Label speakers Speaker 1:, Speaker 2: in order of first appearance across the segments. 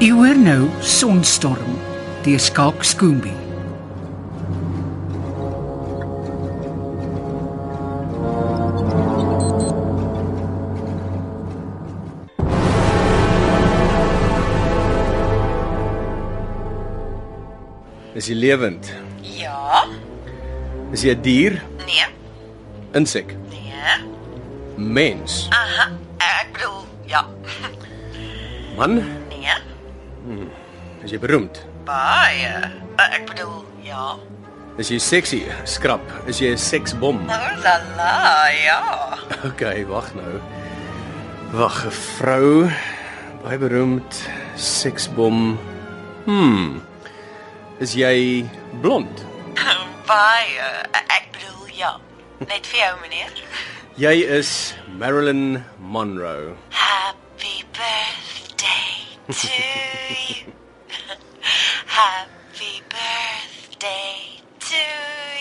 Speaker 1: U hoor nou Sonstorm deur Skalk Skoombie.
Speaker 2: Is jy lewend?
Speaker 3: Ja?
Speaker 2: Is jy 'n dier?
Speaker 3: Nee?
Speaker 2: Insek?
Speaker 3: Nee?
Speaker 2: Mens?
Speaker 3: Aha. Ek bedoel, ja.
Speaker 2: Man?
Speaker 3: Nee?
Speaker 2: Is jy beroemd?
Speaker 3: Baie. Eh, Ek bedoel, ja.
Speaker 2: Is jy sexy? Skrap? Is jy 'n seksbom?
Speaker 3: Nou la la, ja.
Speaker 2: Okay, wag nou. Wag, 'n vrou, baie beroemd, seksbom. Hmm. Is jy blond?
Speaker 3: Baie. Eh, Ek bedoel, ja. Net vir jou, meneer.
Speaker 2: Jy is Marilyn Monroe.
Speaker 3: Happy birthday to you. Happy birthday to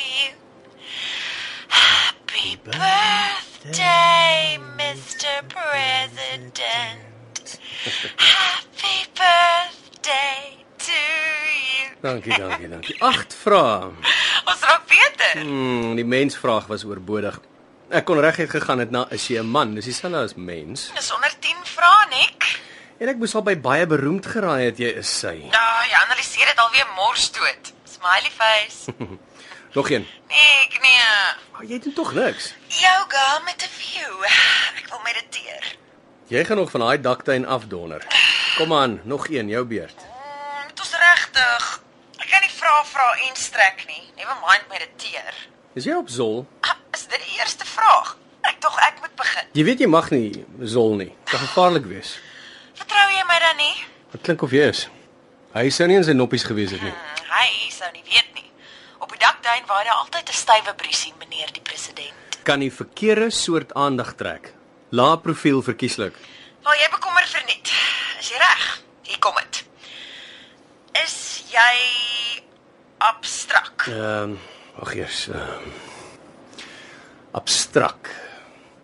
Speaker 3: you. Happy birthday, Mr. President. Happy birthday to you.
Speaker 2: Dankie, dankie, dankie. Agt vrae.
Speaker 3: Ons raak beter.
Speaker 2: Hmm, die mensvraag was oorbodig. Ek kon reguit gegaan het na is jy 'n man? Dis dieselfde as mens.
Speaker 3: Dis onder 10 vrae, Nick.
Speaker 2: En ek moes al by baie beroemd geraai het jy is sy.
Speaker 3: Ja, jy analiseer dit alweer mors dood. Smiley face.
Speaker 2: Nog een.
Speaker 3: Nick, nee.
Speaker 2: Maar Oh, jy doen tog niks.
Speaker 3: Yoga met 'n view. Ek wil mediteer.
Speaker 2: Jy gaan nog van daai daktuin afdonder. Kom aan, nog een, jou beurt.
Speaker 3: Mm, dit is regtig. Ek kan nie vra vra en strek nie. Never mind mediteer.
Speaker 2: Is jy op Zol?
Speaker 3: Ah, is dit die eerste vraag? Ek tog ek moet begin.
Speaker 2: Jy weet jy mag nie Zol nie. Dit kan gevaarlik wees.
Speaker 3: Vertrou jy my dan nie?
Speaker 2: Dit klink of jy is. Hy sou nie in sy noppies gewees het nie.
Speaker 3: Mm, hy sou nie weet nie. Op die dakduin waar daar altyd 'n stywe briesie, meneer die president.
Speaker 2: Kan die verkeerde soort aandag trek. Lae profiel verkieslik.
Speaker 3: Wel, jy bekommer verniet. Is jy reg? Hier kom dit. Is jy abstrakt?
Speaker 2: Ehm, um, wag eers. Um, abstrak.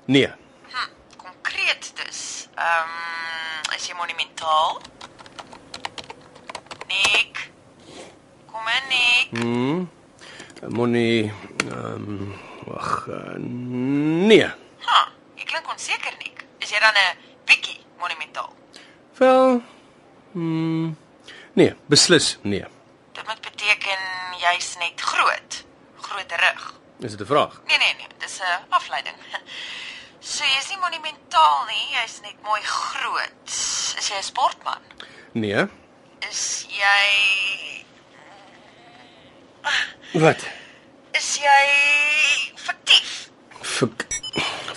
Speaker 2: Nee,
Speaker 3: Konkreet dus. Ehm um, is jy monumentaal? Nik. Kom in Nik.
Speaker 2: moenie ehm um, wag. Uh, nee.
Speaker 3: Ha, jy klink onseker Nik. Is jy dan 'n bietjie monumentaal?
Speaker 2: Wel. Mm, nee, beslis nee.
Speaker 3: Dit moet beteken jy's net groot. Groot rug.
Speaker 2: Is dit 'n vraag?
Speaker 3: Nee nee nee, dis 'n afleiding. So jy's nie monumentaal nie, jy's net mooi groot. Is jy 'n sportman?
Speaker 2: Nee.
Speaker 3: Is jy
Speaker 2: Wat?
Speaker 3: is jy fiktief?
Speaker 2: Fik.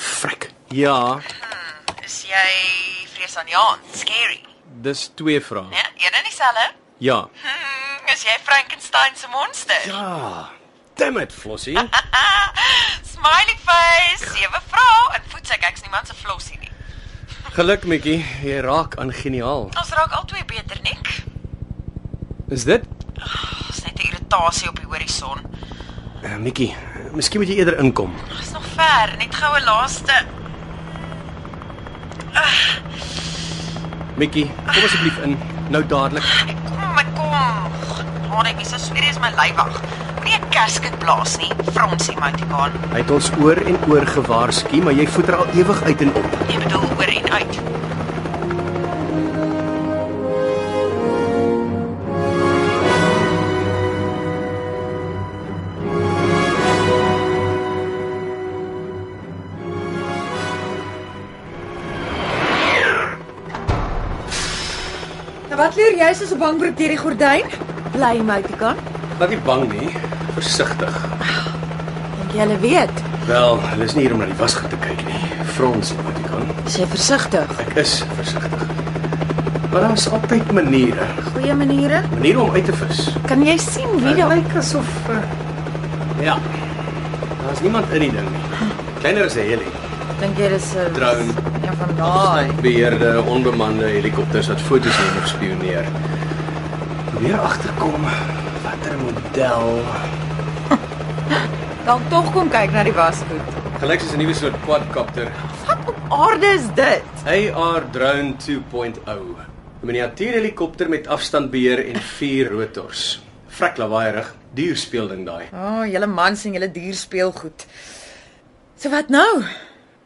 Speaker 2: Frik. Ja,
Speaker 3: Is jy vreesaanjaend? Scary.
Speaker 2: dis twee vrae.
Speaker 3: Ja, een en dieselfde.
Speaker 2: Ja.
Speaker 3: Hmm, is jy Frankenstein se monster?
Speaker 2: Ja. Damn it, Flossie.
Speaker 3: Smiley face, sewe vrou en voetsak ek's niemand se flossie nie.
Speaker 2: Geluk, Mikkie, jy raak aan geniaal.
Speaker 3: Ons raak al twee beter, Nick.
Speaker 2: Is dit?
Speaker 3: Ons net 'n irritasie op die horison.
Speaker 2: Uh, Mikkie, miskien moet jy eerder inkom.
Speaker 3: Ons nog ver, net goue laaste.
Speaker 2: Mikkie, kom asseblief in, nou dadelik.
Speaker 3: Ek kom, ek kom. Hoor ek is so sweer is my lyf wag. Moenie 'n kerskind blaas nie, fronsie Matikaan.
Speaker 2: Hy het ons oor en oor gewaarsku, maar jy voeter al ewig uit en op.
Speaker 3: Jy bedoel oor en uit.
Speaker 4: Nou wat leer jy soos 'n bangbroek deur die gordyn? Bly my te kan.
Speaker 2: Laat nie bang nie, versigtig.
Speaker 4: Dink jy hulle weet?
Speaker 2: Wel, hulle is nie hier om na die wasgoed te kyk nie. Frons, wat jy kan.
Speaker 4: Is jy versigtig?
Speaker 2: Ek is versigtig. Maar daar's altyd maniere,
Speaker 4: Goeie maniere.
Speaker 2: maniere om uit te vis.
Speaker 4: Kan jy sien wie
Speaker 2: Dit
Speaker 4: daai
Speaker 2: lyk asof uh, ja. Daar's niemand in die ding nie. Kleiner as 'n heli.
Speaker 4: dink jy dis 'n
Speaker 2: Drone.
Speaker 4: Ja van daai.
Speaker 2: Beheerde onbemande helikopters wat foto's neem of spioneer. Probeer agterkom watter model.
Speaker 4: Dan tog kom kyk na die wasgoed.
Speaker 2: Gelyks is 'n nuwe soort quadcopter,
Speaker 4: Wat op aarde is dit?
Speaker 2: AR drone 2.0. 'n oh. Miniatuurhelikopter met afstandbeheer en vier rotors. Vrek lawaaierig, duur speelding daai.
Speaker 3: O, oh, julle mans en julle dier speel goed. So wat nou?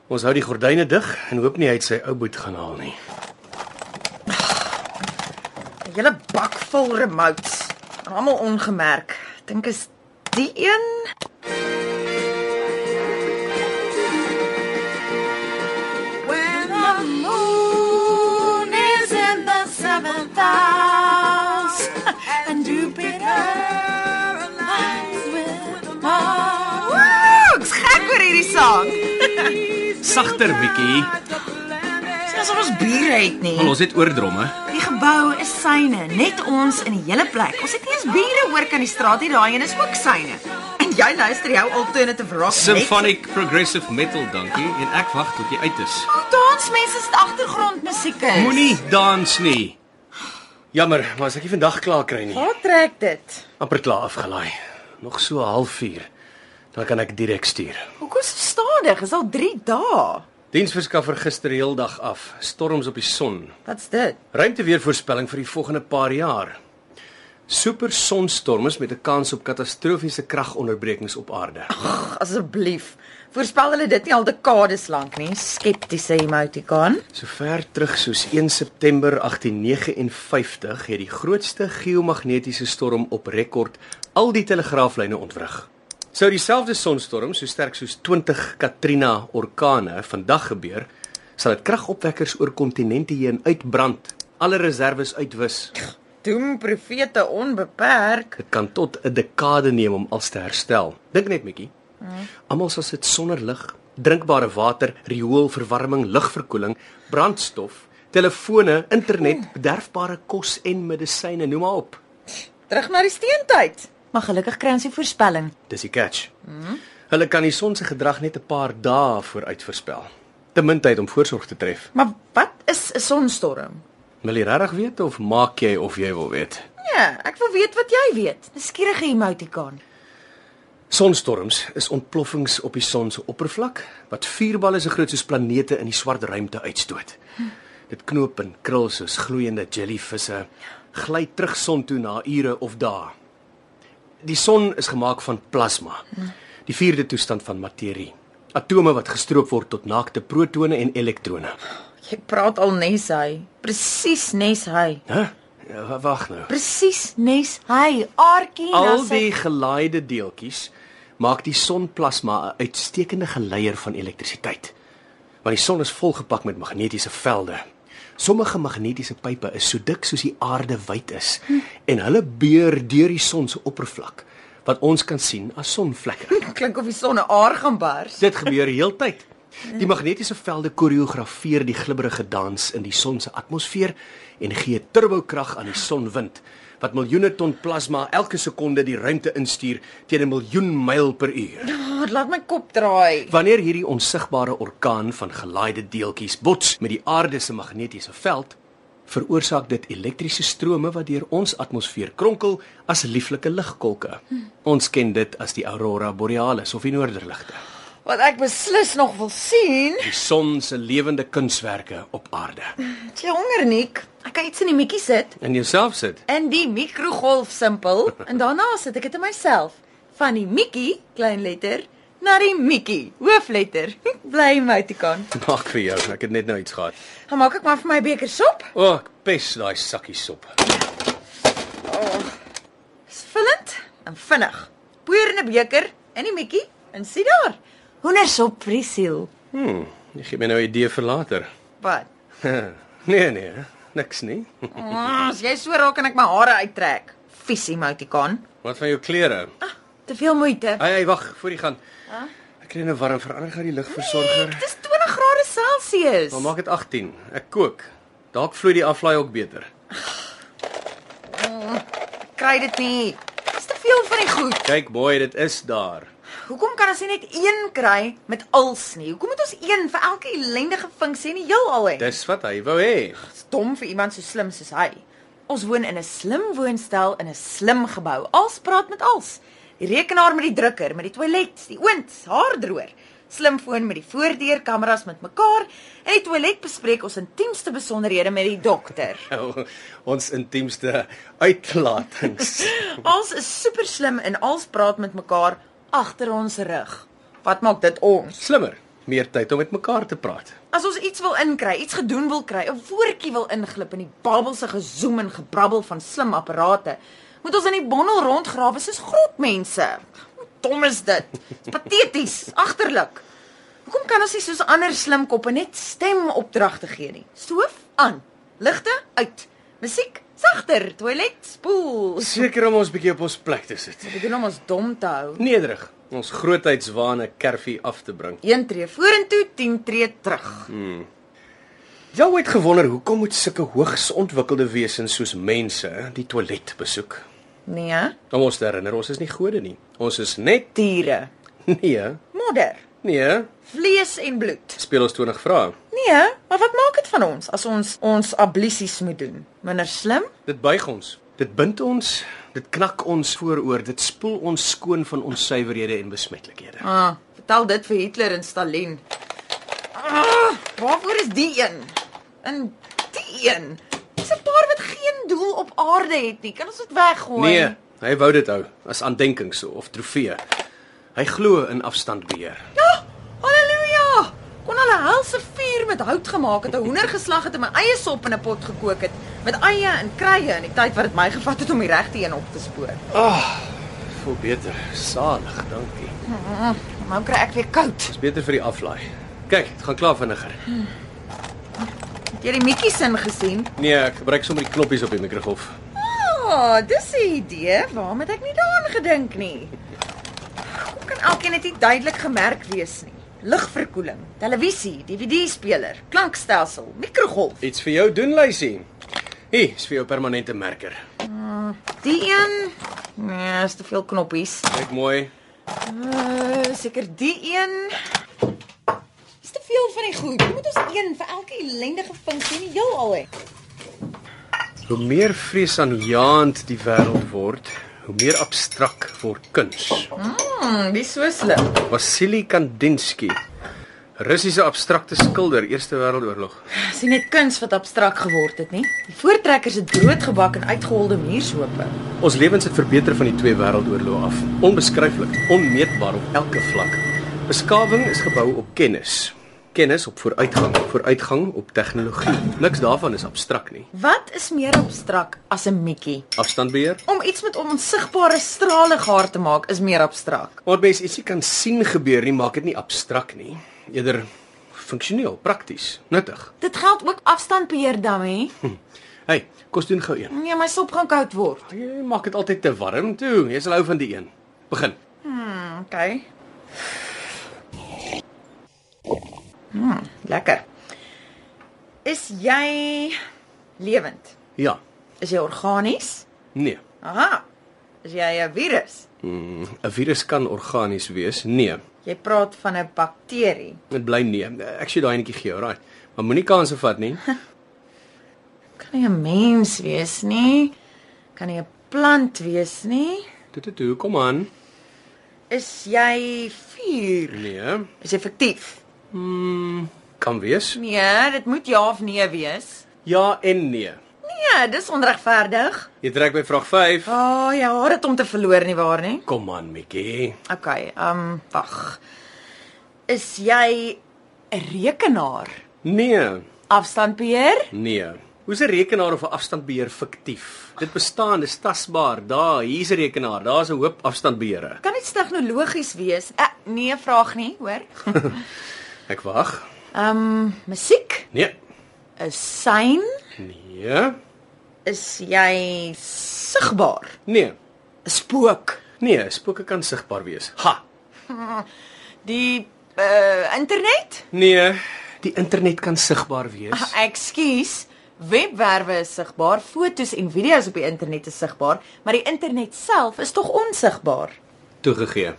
Speaker 2: Ons hou die gordyne dig en hoop nie hy het sy ou boet gaan haal nie.
Speaker 3: Julle bak vol remotes. En Almal ongemerk. Dink is die een When the moon is in the seventh house and Jupiter aligns with Mars. Woe, ek's gek oor hierdie sang.
Speaker 5: Sagter bietjie.
Speaker 3: Dis asof ons bure het nie.
Speaker 5: Al ons het oordromme.
Speaker 3: Die gebou is syne, net ons in die hele plek. Ons het nie eens bure hoor kan die straat hier daai een is ook syne. En jy luister jou alternative rock. net-
Speaker 5: Symphonic progressive metal, dankie. En ek wag tot jy uit is.
Speaker 3: Hoe dans mense se agtergrondmusiek is.
Speaker 5: Moenie dans nie.
Speaker 2: Jammer, maar as ek nie vandag klaar kry nie.
Speaker 3: Waar trek dit?
Speaker 2: amper klaar afgelaai. Nog so 'n halfuur. Dan kan ek direk stuur.
Speaker 3: Hoekom so stadig? Is al 3 dae.
Speaker 2: Diensverskaffer gister heeldag af. Storms op die son.
Speaker 3: Wat's dit?
Speaker 2: Ruimteweervoorspelling vir die volgende paar jaar. Super sonstorms met 'n kans op katastrofiese kragonderbrekings op aarde.
Speaker 3: Ag, asseblief. Voorspel hulle dit nie al dekades lank nie. Skeptiese emoticon.
Speaker 2: So ver terug soos 1 September 1859 het die grootste geomagnetiese storm op rekord al die telegraaflyne ontwrig. Sou dieselfde sonstorm so sterk soos 20 Katrina orkane vandag gebeur, sal dit kragopwekkers oor kontinente heen uitbrand, alle reserves uitwis.
Speaker 3: Doen profete onbeperk.
Speaker 2: Dit kan tot 'n dekade neem om alles te herstel. Dink net bietjie. Almal sal sit sonder lig, drinkbare water, rioolverwarming, lugverkoeling, brandstof, telefone, internet, bederfbare kos en medisyne, noem maar op.
Speaker 3: Terug na die steentyd. Maar gelukkig kry ons die voorspelling.
Speaker 2: Dis die catch. Hulle kan die son se gedrag net 'n paar dae vooruit voorspel. Te min tyd om voorsorg te tref.
Speaker 3: Maar wat is 'n sonstorm?
Speaker 2: Wil jy regtig weet of maak jy of jy wil weet?
Speaker 3: Nee, ek wil weet wat jy weet. 'n Skierige emoticon.
Speaker 2: Sonstorms is ontploffings op die son se oppervlak wat vuurballe so groot soos planete in die swart ruimte uitstoot. Dit knoop en krul soos gloeiende jellyvisse, gly terug son toe na ure of dae. Die son is gemaak van plasma, die vierde toestand van materie. Atome wat gestroop word tot naakte protone en elektrone.
Speaker 3: Jy praat al nes hy. Presies nes hy.
Speaker 2: Hæ? Huh? Wag nou.
Speaker 3: Presies nes hy. Aartjie na
Speaker 2: Al
Speaker 3: sy-
Speaker 2: die gelaaide deeltjies maak die sonplasma 'n uitstekende geleier van elektrisiteit. Want die son is volgepak met magnetiese velde. Sommige magnetiese pype is so dik soos die aarde wyd is en hulle beur deur die son se oppervlak wat ons kan sien as sonvlekke.
Speaker 3: klink of die son 'n aar gaan bars.
Speaker 2: Dit gebeur heeltyd. Die magnetiese velde koreografeer die glibberige dans in die son se atmosfeer en gee turbokrag aan die sonwind wat miljoene ton plasma elke sekonde die ruimte instuur teen 'n miljoen myl per uur.
Speaker 3: Oh, dit laat my kop draai.
Speaker 2: Wanneer hierdie onsigbare orkaan van gelaaide deeltjies bots met die aarde se magnetiese veld, veroorsaak dit elektriese strome wat deur ons atmosfeer kronkel as lieflike ligkolke. Ons ken dit as die aurora borealis of die noorderligte.
Speaker 3: Wat ek beslis nog wil sien.
Speaker 2: die son se lewende kunswerke op aarde.
Speaker 3: Het Jy honger nik. Ek kan iets in die mikkie sit
Speaker 2: In jouself sit.
Speaker 3: in die mikrogolf simpel en daarna sit ek dit in myself van die mikkie klein letter na die mikkie hoofletter. Bly emoticon.
Speaker 2: Maak vir jou, ek het net nou iets gehad.
Speaker 3: Gaan maak ek maar vir my 'n beker sop.
Speaker 2: O, oh, ek pes daai sakkie sop.
Speaker 3: Dis vullend en vinnig. Poeier in 'n beker in die mikkie en sien daar. Hoendersop vir die siel.
Speaker 2: Hm, jy gee my nou 'n idee vir later.
Speaker 3: Wat?
Speaker 2: nee nee, niks nie.
Speaker 3: Mm, as jy so raak kan ek my hare uittrek. Vies emoticon.
Speaker 2: Wat van jou klere?
Speaker 3: Te veel moeite.
Speaker 2: Ai ai, wag, voor jy gaan. Ek kry nou warm verander gou die ligversorger.
Speaker 3: Dis 20 grade Celsius.
Speaker 2: Maar maak dit 18. Ek kook. Dalk vloei die aflaai ook beter.
Speaker 3: kry dit nie. Dis te veel van die goed.
Speaker 2: Kyk boy, dit is daar.
Speaker 3: Hoekom kan ons nie net een kry met als nie? Hoekom moet ons een vir elke ellendige funksie in die heelal hê?
Speaker 2: Dis wat hy wou hê.
Speaker 3: Dis dom vir iemand so slim soos hy. Ons woon in 'n slim woonstel in 'n slim gebou. Als praat met als. Die rekenaar met die drukker, met die toilet, die oond, haardroër. slimfoon met die voordeur kameras met mekaar. In die toilet bespreek ons intiemste besonderhede met die dokter.
Speaker 2: Nou, ons intiemste uitlatings.
Speaker 3: Ons is super slim en ons praat met mekaar agter ons rug. Wat maak dit ons?
Speaker 2: Slimmer, meer tyd om met mekaar te praat.
Speaker 3: As ons iets wil inkry, iets gedoen wil kry, 'n woordjie wil inglip in die babelse gezoem en gebrabbel van slim apparate, moet ons in die bondel rondgrawe soos grotmense. Hoe dom is dit? Dis pateties, agterlik. Hoekom kan ons nie soos ander slim koppe net stemopdragte gee nie? Stoof aan, ligte uit, musiek sagter, toilet spoel.
Speaker 2: Seker om ons bietjie op ons plek te sit.
Speaker 3: Ek bedoel om ons dom te hou.
Speaker 2: Nederig, ons grootheidswaane kerfie af te bring.
Speaker 3: 1 tree vorentoe, 10 tree terug.
Speaker 2: Jy het gewonder hoekom moet sulke hoogs ontwikkelde wesens soos mense die toilet besoek?
Speaker 3: Nee,
Speaker 2: Om ons te herinner, ons is nie gode nie. Ons is net
Speaker 3: diere.
Speaker 2: nee,
Speaker 3: Modder,
Speaker 2: nee,
Speaker 3: vlees en bloed.
Speaker 2: speel ons 20 vrae.
Speaker 3: Nee, maar wat maak dit van ons as ons ons ablisies moet doen? Minder slim?
Speaker 2: Dit buig ons. Dit bind ons, dit knak ons vooroor, dit spoel ons skoon van onsuiverhede en besmetlikhede.
Speaker 3: Ah, vertel dit vir Hitler en Stalin. Ah, waarvoor is die een? En die een. Dis 'n paar wat geen doel op aarde het nie. Kan ons dit weggooi?
Speaker 2: Nee, hy wou dit hou as aandenkings of trofee. Hy glo in afstandbeheer.
Speaker 3: Ja, haleluja! Kon hulle helse vuur met hout gemaak het, 'n hoender geslag het en my eie sop in 'n pot gekook het met eie en kruie in die tyd wat dit my gevat het om die regte een op te spoor.
Speaker 2: Voel beter, salig, dankie.
Speaker 3: Nou kry ek weer koud.
Speaker 2: Dis beter vir die aflaai. Kyk, dit gaan klaar vinniger.
Speaker 3: Het jy die Mikkie sin gesien?
Speaker 2: Nee, ek gebruik sommer die knoppies op die mikrogolf.
Speaker 3: Ah, dis 'n idee. Waarom het ek nie daaraan gedink nie? Hoe kan elkeen dit nie duidelik gemerk wees nie? Ligverkoeling, televisie, DVD-speler, klankstelsel, mikrogolf.
Speaker 2: Iets vir jou doen, Luisie. Hier, is vir jou permanente merker.
Speaker 3: Die een nee, is te veel knoppies.
Speaker 2: Kyk mooi.
Speaker 3: Uh, seker die een. Dis te veel van die goed. Hoe moet ons een vir elke ellendige funksie in die heelal hê?
Speaker 2: Hoe meer vreesaanjaend die wêreld word, hoe meer abstrakt word kuns.
Speaker 3: Hmm, dis so slim.
Speaker 2: Vasily Kandinsky, Russiese abstrakte skilder, Eerste Wêreldoorlog.
Speaker 3: Sien net kuns wat abstrakt geword het, nie? Die voortrekkers het broodgebak en uitgeholde muurshope.
Speaker 2: Ons lewens het verbeter van die twee wêreldoorloë af. Onbeskryflik, onmeetbaar op elke vlak. Beskawing is gebou op kennis. Kennis op vooruitgang, vooruitgang op tegnologie. Niks daarvan is abstrakt nie.
Speaker 3: Wat is meer abstrakt as 'n mikkie?
Speaker 2: Afstandbeheer.
Speaker 3: Om iets met onsigbare strale gaar te maak is meer abstrakt.
Speaker 2: Wat mens ietsie kan sien gebeur nie, maak dit nie abstrakt nie. Eerder funksioneel, prakties, nuttig.
Speaker 3: Dit geld ook afstandbeheer daarmee.
Speaker 2: Hey, kos doen gou een.
Speaker 3: Nee, my sop gaan koud word.
Speaker 2: Jy maak dit altyd te warm toe. Jy sal hou van die een. Begin.
Speaker 3: Okay. Mm, lekker. Is jy lewend?
Speaker 2: Ja.
Speaker 3: Is jy organies?
Speaker 2: Nee. Hmm,
Speaker 3: Aha. Is jy 'n virus?
Speaker 2: 'n Virus kan organies wees. Nee.
Speaker 3: Jy praat van 'n bakterie.
Speaker 2: Dit bly nee. Ek sê daai netjie gee, alraai. Maar moenie kanse vat nie.
Speaker 3: Kan nie 'n mens wees nie. Kan nie 'n plant wees nie.
Speaker 2: Toe toe toe, kom aan.
Speaker 3: Is jy vuur?
Speaker 2: Nee.
Speaker 3: Is jy fiktief?
Speaker 2: Mm, kan wees.
Speaker 3: Nee, dit moet ja of nee wees.
Speaker 2: Ja en nee.
Speaker 3: Nee, dis onregverdig.
Speaker 2: Jy trek by vraag 5.
Speaker 3: O, oh, jy haat dit om te verloor nie waar nie?
Speaker 2: Kom aan, Mikkie.
Speaker 3: Okay, ehm um, wag. Is jy 'n rekenaar?
Speaker 2: Nee.
Speaker 3: Afstandbeheer?
Speaker 2: Nee. Hoe's 'n rekenaar of 'n afstandbeheer fiktief? Dit bestaan, dis tasbaar. Daar, hier's 'n rekenaar. Daar's 'n hoop afstandbeheere.
Speaker 3: Kan iets tegnologies wees? Eh, nee, vraag nie, hoor.
Speaker 2: Ek wag.
Speaker 3: Ehm um, musiek?
Speaker 2: Nee.
Speaker 3: 'n Sein?
Speaker 2: Nee.
Speaker 3: Is jy sigbaar?
Speaker 2: Nee.
Speaker 3: 'n Spook?
Speaker 2: Nee, spooke kan sigbaar wees. Ha.
Speaker 3: Die uh internet?
Speaker 2: Nee, die internet kan sigbaar wees.
Speaker 3: Ah, Ekskuus. Webwerwe is sigbaar, fotos en video's op die internet is sigbaar, maar die internet self is tog onsigbaar.
Speaker 2: Toegegee.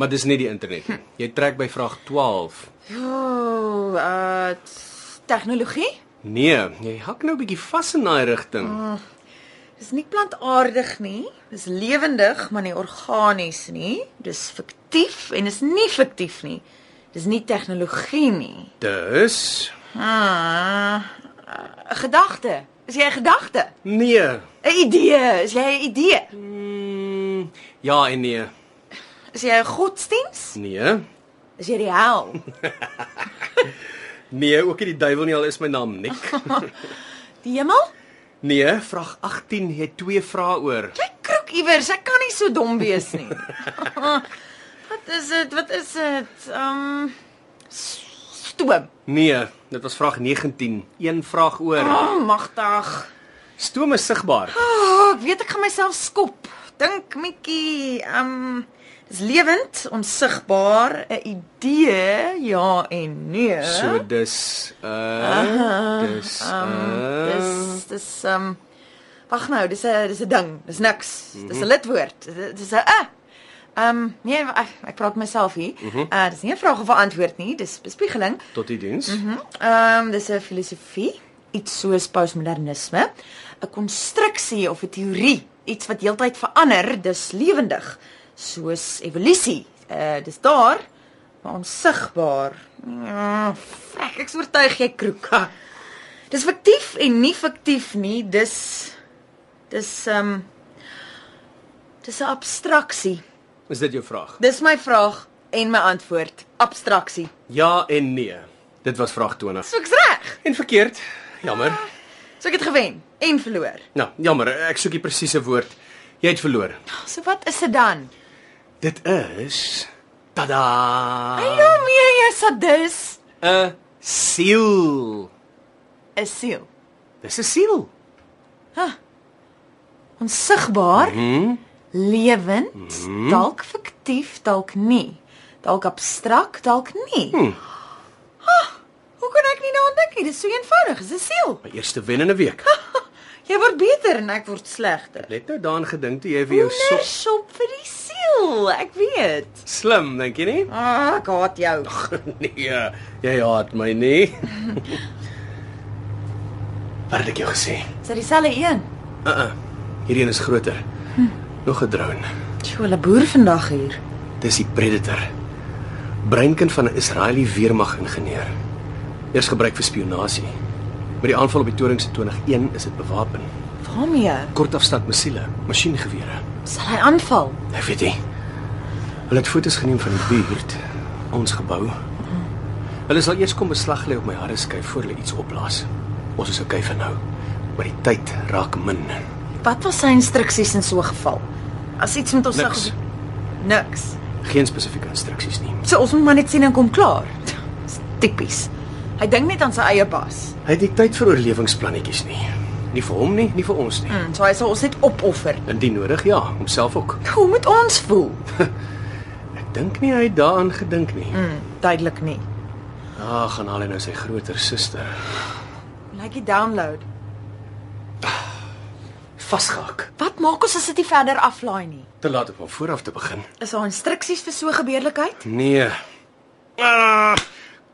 Speaker 2: Maar dis nie die internet nie. Jy trek by vraag 12.
Speaker 3: Ooh, uh t- tegnologie?
Speaker 2: Nee, jy hak nou 'n bietjie vas in daai rigting.
Speaker 3: Dis nie plantaardig nie. Dis lewendig, maar nie organies nie. Dis fiktief en is nie fiktief nie. Dis nie tegnologie nie.
Speaker 2: Dus
Speaker 3: Ah, 'n gedagte. Is jy 'n gedagte?
Speaker 2: nee.
Speaker 3: 'n Idee. Is jy 'n idee?
Speaker 2: Mm, ja en nee.
Speaker 3: Is jy 'n godsdiens?
Speaker 2: Nee.
Speaker 3: Is jy die hel?
Speaker 2: Nee, ook nie die duiwel nie al is my naam Nick.
Speaker 3: Die hemel?
Speaker 2: Nee, vraag 18 het twee vrae oor.
Speaker 3: Jy kroek iewers. Ek kan nie so dom wees nie. wat is dit? Wat is dit? Ehm um, stoom.
Speaker 2: Nee, dit was vraag 19. Een vraag oor.
Speaker 3: Oh, magtig.
Speaker 2: Stoom is sigbaar.
Speaker 3: Oh, ek weet ek gaan myself skop. Dink Mikkie, ehm um, dis lewend, onsigbaar, 'n idee, ja en nee.
Speaker 2: So dis uh dis uh
Speaker 3: Dis dis ehm um, wag nou, dis 'n dis 'n ding, dis niks. Dis 'n lidwoord. Dis dis 'n uh. Ehm um, nee, ek, ek praat myself hier. Uh dis nie 'n vraag of 'n antwoord nie, dis bespiegeling.
Speaker 2: tot die diens.
Speaker 3: Ehm um, dis 'n filosofie, iets soos postmodernisme, 'n konstruksie of 'n teorie, iets wat heeltyd verander, dis lewendig, soos evolusie. Uh dis daar, maar onsigbaar. Ja, fek, ek is oortuig jy kroek. Ha. Dis fiktief en nie fiktief nie, dis dis ehm um, dis 'n abstraksie.
Speaker 2: Is dit jou vraag?
Speaker 3: Dis my vraag en my antwoord. Abstraksie.
Speaker 2: Ja en nee. Dit was vraag 20.
Speaker 3: So ek's reg.
Speaker 2: En verkeerd. Jammer.
Speaker 3: So ek het gewen en verloor.
Speaker 2: Nou, jammer, ek soek die presiese woord. Jy het verloor.
Speaker 3: So wat is dit dan?
Speaker 2: Dit is
Speaker 3: Hy
Speaker 2: tada.
Speaker 3: nou meer jy sadis
Speaker 2: 'n Siel.
Speaker 3: is siel.
Speaker 2: Dis 'n siel.
Speaker 3: Onsigbaar, mm. lewend, mm. dalk fiktief, dalk nie. Dalk abstrakt, dalk nie. Mm. Hoe kon ek nie daaraan dink nie? Dis so eenvoudig, dis 'n siel.
Speaker 2: My eerste wen in 'n week.
Speaker 3: Jy word beter en ek word slegter.
Speaker 2: Net nou daaraan gedink toe jy vir jou
Speaker 3: Jou
Speaker 2: sok
Speaker 3: sop vir die siel, ek weet.
Speaker 2: slim, dink jy nie?
Speaker 3: Ah, ek haat jou.
Speaker 2: nee, jy haat my nie. Wat het ek jou gesê?
Speaker 3: Dis dieselfde een.
Speaker 2: Uh-uh. Hierdie een is groter. Nog 'n drone.
Speaker 3: Sjoe, hulle boer vandag hier.
Speaker 2: Dis die Predator. Breinkind van 'n Israeliese weermag ingenieur. Eers gebruik vir spionasie. Met die aanval op die torings in 2001 is dit bewapen.
Speaker 3: Waarmee?
Speaker 2: Kortafstand missiele, masjiengewere.
Speaker 3: Sal hy aanval?
Speaker 2: Ek weet nie. Hulle het foto's geneem van die buurt, ons gebou. Hulle sal eers kom beslag lê op my harreskyf voor hulle iets opblaas. Ons is okay vir nou, maar die tyd raak min.
Speaker 3: Wat was sy instruksies in so 'n geval? As iets met ons
Speaker 2: Niks.
Speaker 3: sag- niks.
Speaker 2: Geen spesifieke instruksies nie.
Speaker 3: So ons moet maar net sien en kom klaar. Dis Tipies. Hy dink net aan sy eie bas.
Speaker 2: Hy het nie tyd vir oorlewingsplannetjies nie. Nie vir hom nie, nie vir ons nie.
Speaker 3: Mm, so hy sal ons net opoffer.
Speaker 2: Indien nodig, ja, homself ook.
Speaker 3: Hoe moet ons voel?
Speaker 2: Ek dink nie hy het daaraan gedink nie.
Speaker 3: Mm, duidelik nie.
Speaker 2: Ah, gaan haal hy nou sy groter suster.
Speaker 3: Like die download.
Speaker 2: Vasgehak.
Speaker 3: Wat maak ons as dit nie verder aflaai nie?
Speaker 2: Te laat om van voor af te begin.
Speaker 3: Is daar instruksies vir so 'n gebeurlikheid?
Speaker 2: Nee. Ah,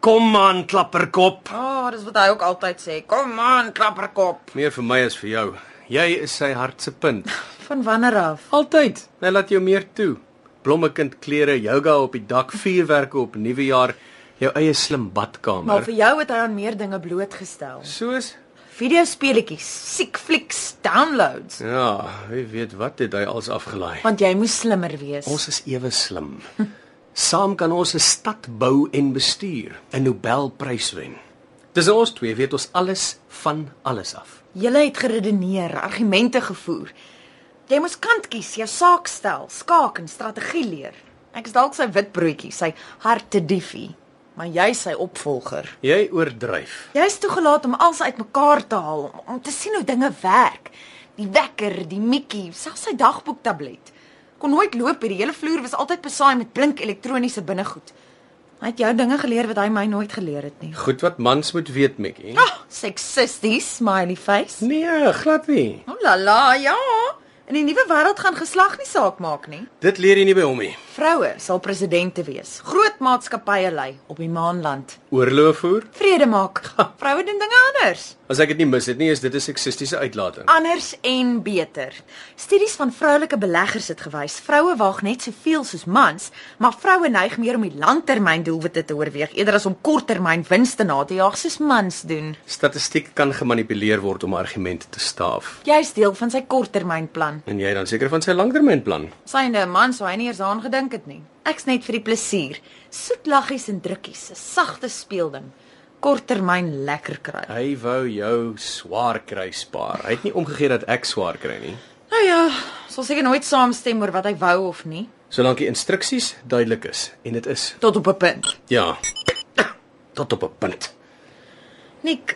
Speaker 2: kom aan, klapperkop.
Speaker 3: Ah, oh, dis wat hy ook altyd sê. Kom aan, klapperkop.
Speaker 2: Meer vir my as vir jou. Jy is sy hart se punt.
Speaker 3: Van wanneer af?
Speaker 2: Altyd. Hy laat jou meer toe. Blommekind klere, yoga op die dak, vuurwerke op nuwejaar, jou eie slim
Speaker 3: Maar
Speaker 2: badkamer.
Speaker 3: vir jou het hy aan meer dinge blootgestel.
Speaker 2: Soos
Speaker 3: Videospeletjies, siekflieks, downloads.
Speaker 2: Ja, wie weet wat het hy als afgelaai.
Speaker 3: Want jy moes slimmer wees.
Speaker 2: Ons is ewe slim. Saam kan ons 'n stad bou en bestuur, 'n Nobelprys wen. Tussen ons twee weet ons alles van alles af.
Speaker 3: Julle het geredeneer, argumente gevoer. Jy moes kant kies, jou saak stel, skaak en strategie leer. Ek is dalk sy witbroodjie, sy harte diefie, maar jy is sy opvolger.
Speaker 2: Jy oordryf.
Speaker 3: Jy is toegelaat om alles uitmekaar te haal, om, om te sien hoe dinge werk. Die wekker, die mikkie, selfs sy dagboektablet. Kon nooit loop hier, die hele vloer was altyd besaai met blink elektroniese binnegoed. Hy het jou dinge geleer wat hy my nooit geleer het nie.
Speaker 2: Goed wat mans moet weet, Mikkie.
Speaker 3: Ah, oh, seksisties, smiley face.
Speaker 2: Nee, glad nie.
Speaker 3: Oh la la, ja. In die nuwe wêreld gaan geslag nie saak maak nie.
Speaker 2: Dit leer jy nie by hom nie.
Speaker 3: Vroue sal presidente wees. Groot maatskappye lei op die maanland.
Speaker 2: Oorlog voer?
Speaker 3: Vrede maak. Vroue doen dinge anders.
Speaker 2: As ek dit nie mis het nie, is dit 'n seksistiese uitlating.
Speaker 3: Anders en beter. Studies van vroulike beleggers het gewys vroue waag net soveel soos mans, maar vroue neig meer om die langtermyndoelwitte te oorweeg eerder as om korttermyn wins te najag soos mans doen.
Speaker 2: Statistiek kan gemanipuleer word om argumente te staaf.
Speaker 3: Jy is deel van sy korttermynplan.
Speaker 2: En jy dan seker van sy langtermynplan.
Speaker 3: Syne 'n man sou hy nie eens aan gedink het nie. Ek's net vir die plesier. Soet laggies en drukkies, 'n sagte speelding. Korttermyn lekker kry.
Speaker 2: Hy wou jou swaar kry spaar. Hy het nie omgegee dat ek swaar kry nie.
Speaker 3: Nou ja, sal seker nooit saamstem oor wat hy wou of nie,
Speaker 2: Solank die instruksies duidelik is en dit is.
Speaker 3: tot op 'n punt.
Speaker 2: Ja. Tot op 'n punt.
Speaker 3: Nik,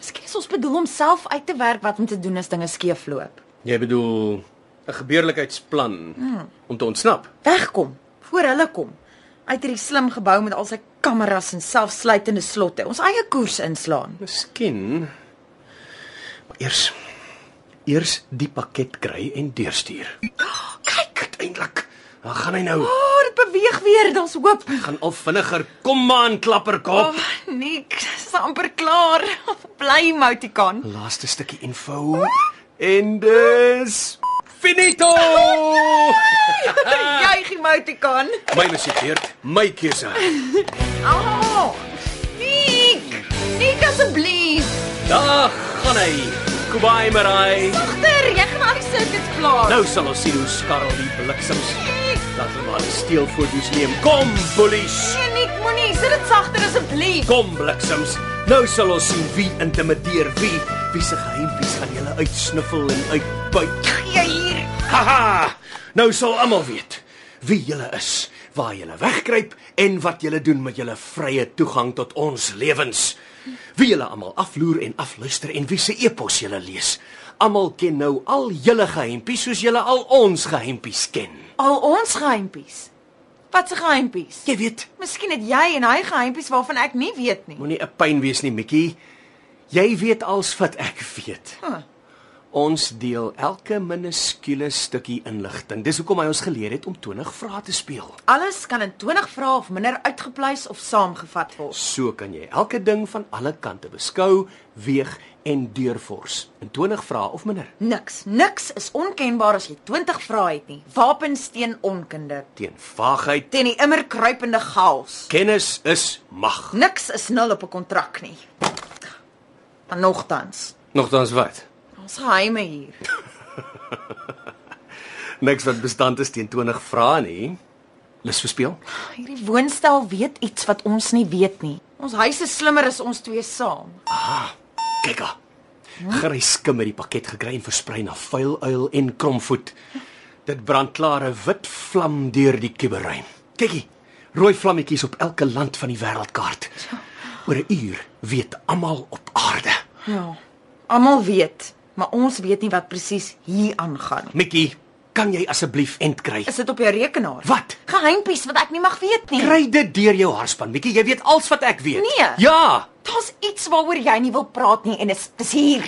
Speaker 3: miskien is ons bedoel om self uit te werk wat om te doen as dinge skeefloop.
Speaker 2: Jy bedoel 'n gebeurlikheidsplan hmm. om te ontsnap.
Speaker 3: Wegkom voor hulle kom. Uit hierdie slim gebou met al sy kameras en selfsluitende slotte, ons eie koers inslaan.
Speaker 2: Miskien maar eers eers die pakket kry en deurstuur.
Speaker 3: Kyk,
Speaker 2: Eindelik. Dan gaan hy nou.
Speaker 3: o, oh, dit beweeg weer, daar's hoop.
Speaker 2: Gaan al vinniger. Kom aan,
Speaker 3: Oh,
Speaker 2: klapperkop.
Speaker 3: Nik, dis amper klaar. Bly Moutikan.
Speaker 2: Laaste stukkie info. En dis finito.
Speaker 3: Juig Moutikan.
Speaker 2: My musiek beurt, my keuse.
Speaker 3: Ah! Nik, Nik asseblief.
Speaker 2: Daar gaan hy. Kubai Marai.
Speaker 3: Agter, jy gaan al die sirkus plaas.
Speaker 2: Nou sal ons sien hoe skarrel die bliksems. Laat hulle maar die steelfoto's neem. Kom, bullies.
Speaker 3: Nee, Nik, moenie, sit dit sagter asseblief.
Speaker 2: Kom, bliksems. Nou sal ons sien wie intimideer wie. Wie se geheimpies gaan julle uitsniffel en uitbuit.
Speaker 3: Gee hier.
Speaker 2: Haha. Nou sal almal weet wie julle is, waar julle wegkruip en wat julle doen met julle vrye toegang tot ons lewens. Wie julle almal afloer en afluister en wie se e-pos julle lees. Almal ken nou al julle geheimpies soos julle al ons geheimpies ken.
Speaker 3: Al ons geheimpies. Wat se geheimpies?
Speaker 2: Jy weet,
Speaker 3: Miskien het jy en hy geheimpies waarvan ek nie weet nie.
Speaker 2: moenie 'n pyn wees nie, Mikkie. Jy weet als wat ek weet.
Speaker 3: Huh.
Speaker 2: Ons deel elke minuskule stukkie inligting. Dis hoekom hy ons geleer het om 20 vrae te speel.
Speaker 3: Alles kan in 20 vrae of minder uitgepluis of saamgevat word.
Speaker 2: So kan jy elke ding van alle kante beskou, weeg en deurfors in 20 vrae of minder.
Speaker 3: Niks, niks is onkenbaar as jy 20 vrae het nie. Wapens teen onkunde,
Speaker 2: Teen vaagheid,
Speaker 3: teen die immer kruipende chaos.
Speaker 2: kennis is mag.
Speaker 3: Niks is nul op 'n kontrak nie. Maar nogtans,
Speaker 2: Nogtans wat?
Speaker 3: ons geheime hier.
Speaker 2: Niks wat bestand is teen 20 vrae nie. Lus vir speel?
Speaker 3: Hierdie woonstel weet iets wat ons nie weet nie. Ons huis is slimmer as ons twee saam.
Speaker 2: Kyk daar. Grys skim het die pakket gekry en versprei na vuiluil en kromvoet. Dit brand klare wit vlam deur die kuberruim. Kykie, rooi vlammetjies op elke land van die wêreldkaart. Oor 'n uur weet almal op aarde.
Speaker 3: Ja. Almal weet, maar ons weet nie wat presies hier aangaan nie.
Speaker 2: Mikkie, kan jy asseblief end kry?
Speaker 3: Is dit op jou rekenaar?
Speaker 2: Wat?
Speaker 3: Geheimpies wat ek nie mag weet nie.
Speaker 2: Kry dit deur jou harspan, Mikkie. Jy weet alles wat ek weet.
Speaker 3: Nee.
Speaker 2: Ja.
Speaker 3: Daar's iets waaroor jy nie wil praat nie en dit is dis hier.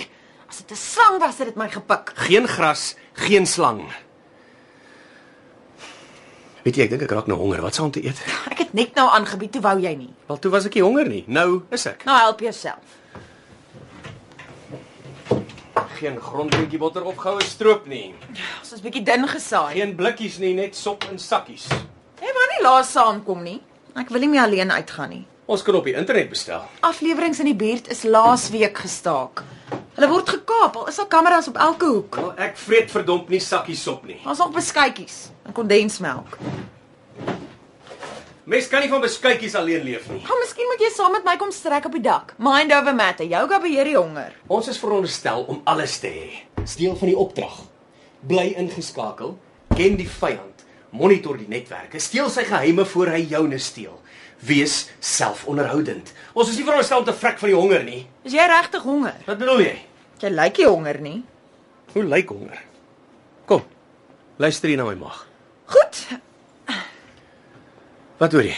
Speaker 3: As dit 'n slang was, het dit my gepik.
Speaker 2: Geen gras, geen slang. Weet jy, ek dink ek raak nou honger. Wat se om te eet?
Speaker 3: Ek het net nou aangebied, toe wou jy nie.
Speaker 2: Wel, toe was ek nie honger nie. Nou is ek.
Speaker 3: Nou help jouself.
Speaker 2: Geen grondbroodjie botter opgehoue stroop nie.
Speaker 3: Ons is bietjie dun gesaai.
Speaker 2: Geen blikkies nie, net sop in sakkies.
Speaker 3: Jy wou nie laas saamkom nie. Ek wil nie meer alleen uitgaan nie.
Speaker 2: Ons kan op die internet bestel.
Speaker 3: Afleweringe in die buurt is laas week gestaak. Hulle word gekaap, al is daar kameras op elke hoek.
Speaker 2: Wel, Nou, ek vreet verdomp nie sakkies sop nie.
Speaker 3: Ons nog beskuitjies en kondensmelk.
Speaker 2: Mens kan nie van beskuitjies alleen leef nie.
Speaker 3: Gaan miskien moet jy saam met my kom strek op die dak. Mind over matter. Yoga beheer die honger.
Speaker 2: Ons is veronderstel om alles te hê. Dis deel van die opdrag. Bly ingeskakel, ken die vyand, monitor die netwerke, steel sy geheime voor hy joune steel. Wees selfonderhoudend. Ons is nie veronderstel om te vrek van die honger nie.
Speaker 3: Is jy regtig honger?
Speaker 2: Wat bedoel jy?
Speaker 3: Jy lyk nie honger nie.
Speaker 2: Hoe lyk honger? Kom. Luister hier na my maag.
Speaker 3: Goed.
Speaker 2: Wat hoor jy?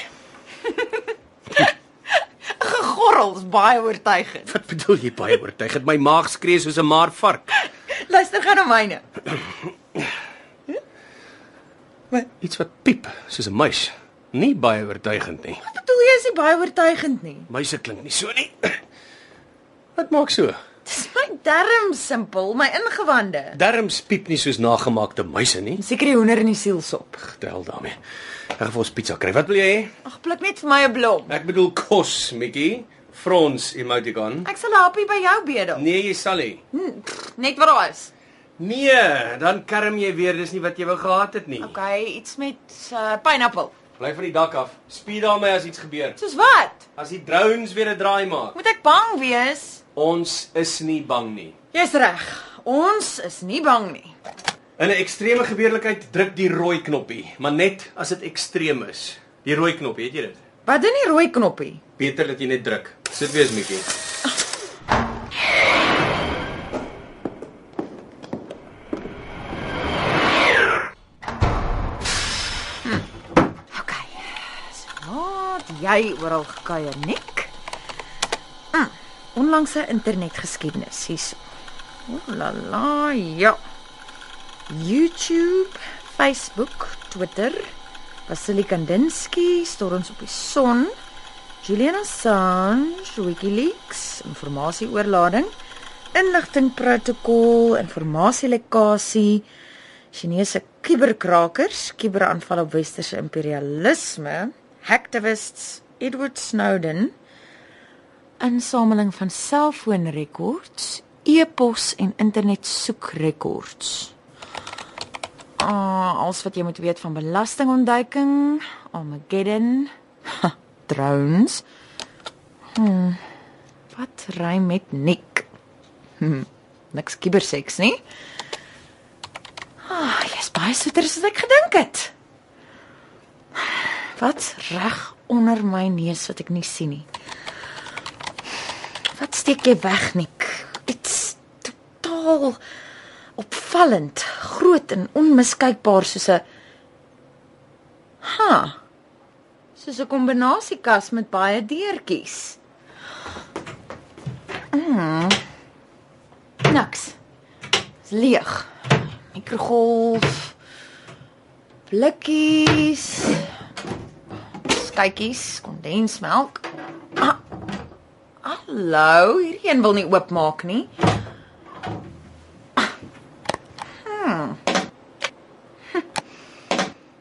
Speaker 3: Gegorrels baie oortuigend.
Speaker 2: Wat bedoel jy baie oortuig? Het my maag skree soos 'n maar vark.
Speaker 3: Luister gou na myne.
Speaker 2: Maar iets wat piep soos 'n muis. Nie baie oortuigend nie.
Speaker 3: Wat bedoel jy is nie baie oortuigend nie.
Speaker 2: Muise klink nie so nie. Wat maak so?
Speaker 3: Dis my darm simpel, my ingewande.
Speaker 2: Darms piep nie soos nagemaakte muise nie.
Speaker 3: Seker die hoender in die sielsop.
Speaker 2: Tel daarmee. Ek gaan vir ons pizza kry. Wat wil jy hê?
Speaker 3: Ag, pluk net vir my 'n blom.
Speaker 2: Ek bedoel kos, Mikkie. Frons emoticon.
Speaker 3: Ek sal happie by jou bedel.
Speaker 2: Nee, jy sal nie.
Speaker 3: Hm, pff, net wat daar is.
Speaker 2: Nee, dan kerm jy weer, dis nie wat jy wou gehad het nie.
Speaker 3: Okay, iets met uh, pineappel.
Speaker 2: Bly van die dak af. Spied daar my as iets gebeur.
Speaker 3: Soos wat?
Speaker 2: As die drones weer 'n draai maak.
Speaker 3: Moet ek bang wees?
Speaker 2: Ons is nie bang nie.
Speaker 3: Jy's reg. Ons is nie bang nie.
Speaker 2: In 'n ekstreme gebeurlikheid druk die rooi knoppie, maar net as dit ekstreem is. Die rooi knoppie, weet jy dit?
Speaker 3: Wat doen die rooi knoppie?
Speaker 2: Beter dat jy net druk. Sit weer eens, Mikkie.
Speaker 3: Okay. Wat jy oral gekuier, Nick? Mm, onlangse internetgeskiedenis hierso. O la la, ja. YouTube, Facebook, Twitter. Vasily Kandinsky, Storms op die son. Julian Assange, WikiLeaks, informasieoorlading, inligtingprotokol, informasielekkasie, Chinese kuberkrakers, kuberaanval op westerse imperialisme, hacktivists, Edward Snowden, insameling van selfoonrekords, e-pos en internetsoekrekords. Ah, alles wat jy moet weet van belastingontduiking, Armageddon, ha, drones. Hm, wat rym met nik? Hm, niks kiberseks nie. Ah, jy's baie soeter as wat ek gedink het. Wat reg onder my neus wat ek nie sien nie. Wat steek jy weg, Nik? Dit's totaal opvallend, groot en onmiskenbaar soos 'n Ha. Soos 'n kombinasiekas met baie deurtjies. Mm. Niks. Is leeg. Mikrogolf. Blikkies. Skytjies, kondensmelk. Ah, Hallo, hierdie een wil nie oopmaak nie. Hmm. Hm.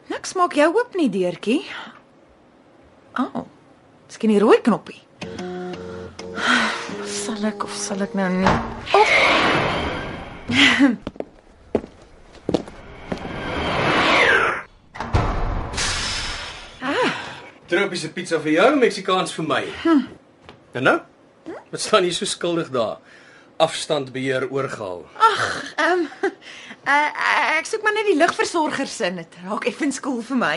Speaker 3: Niks maak jou oop nie, deurtjie. Au. Oh, Miskien die rooi knoppie. Sal ek of sal ek nou nie?
Speaker 2: Tropiese pizza vir jou, Meksikaans vir my. En nou? Wat staan jy so skuldig daar? Afstand beheer oorgehaal.
Speaker 3: Ehm um, uh, ek soek maar net die ligversorger se in. Dit raak effens koel vir my.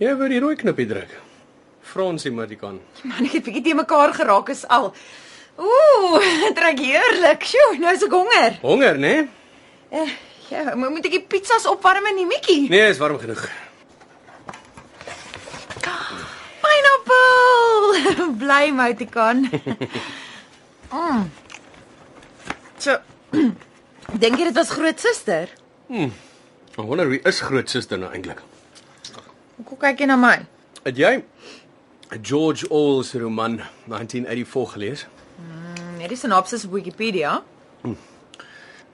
Speaker 2: Jy wou die rooi knoppie druk. Frons emoticon.
Speaker 3: Man, ek het bietjie te mekaar geraak is al. Ooh, dit raak heerlik. Sjoe, nou is ek honger.
Speaker 2: Honger, né? Nee?
Speaker 3: Eh, ja, mo- moet ek die pizzas opwarm in die mikkie?
Speaker 2: nee, is warm genoeg.
Speaker 3: Pineapple. Bly moutikan. mm. So Dink jy dit was groot suster?
Speaker 2: Ek wonder wie is groot suster nou eintlik?
Speaker 3: Hoe kyk jy na my?
Speaker 2: Het jy George Orwell se roman 1984 gelees?
Speaker 3: Net die sinopsis op Wikipedia.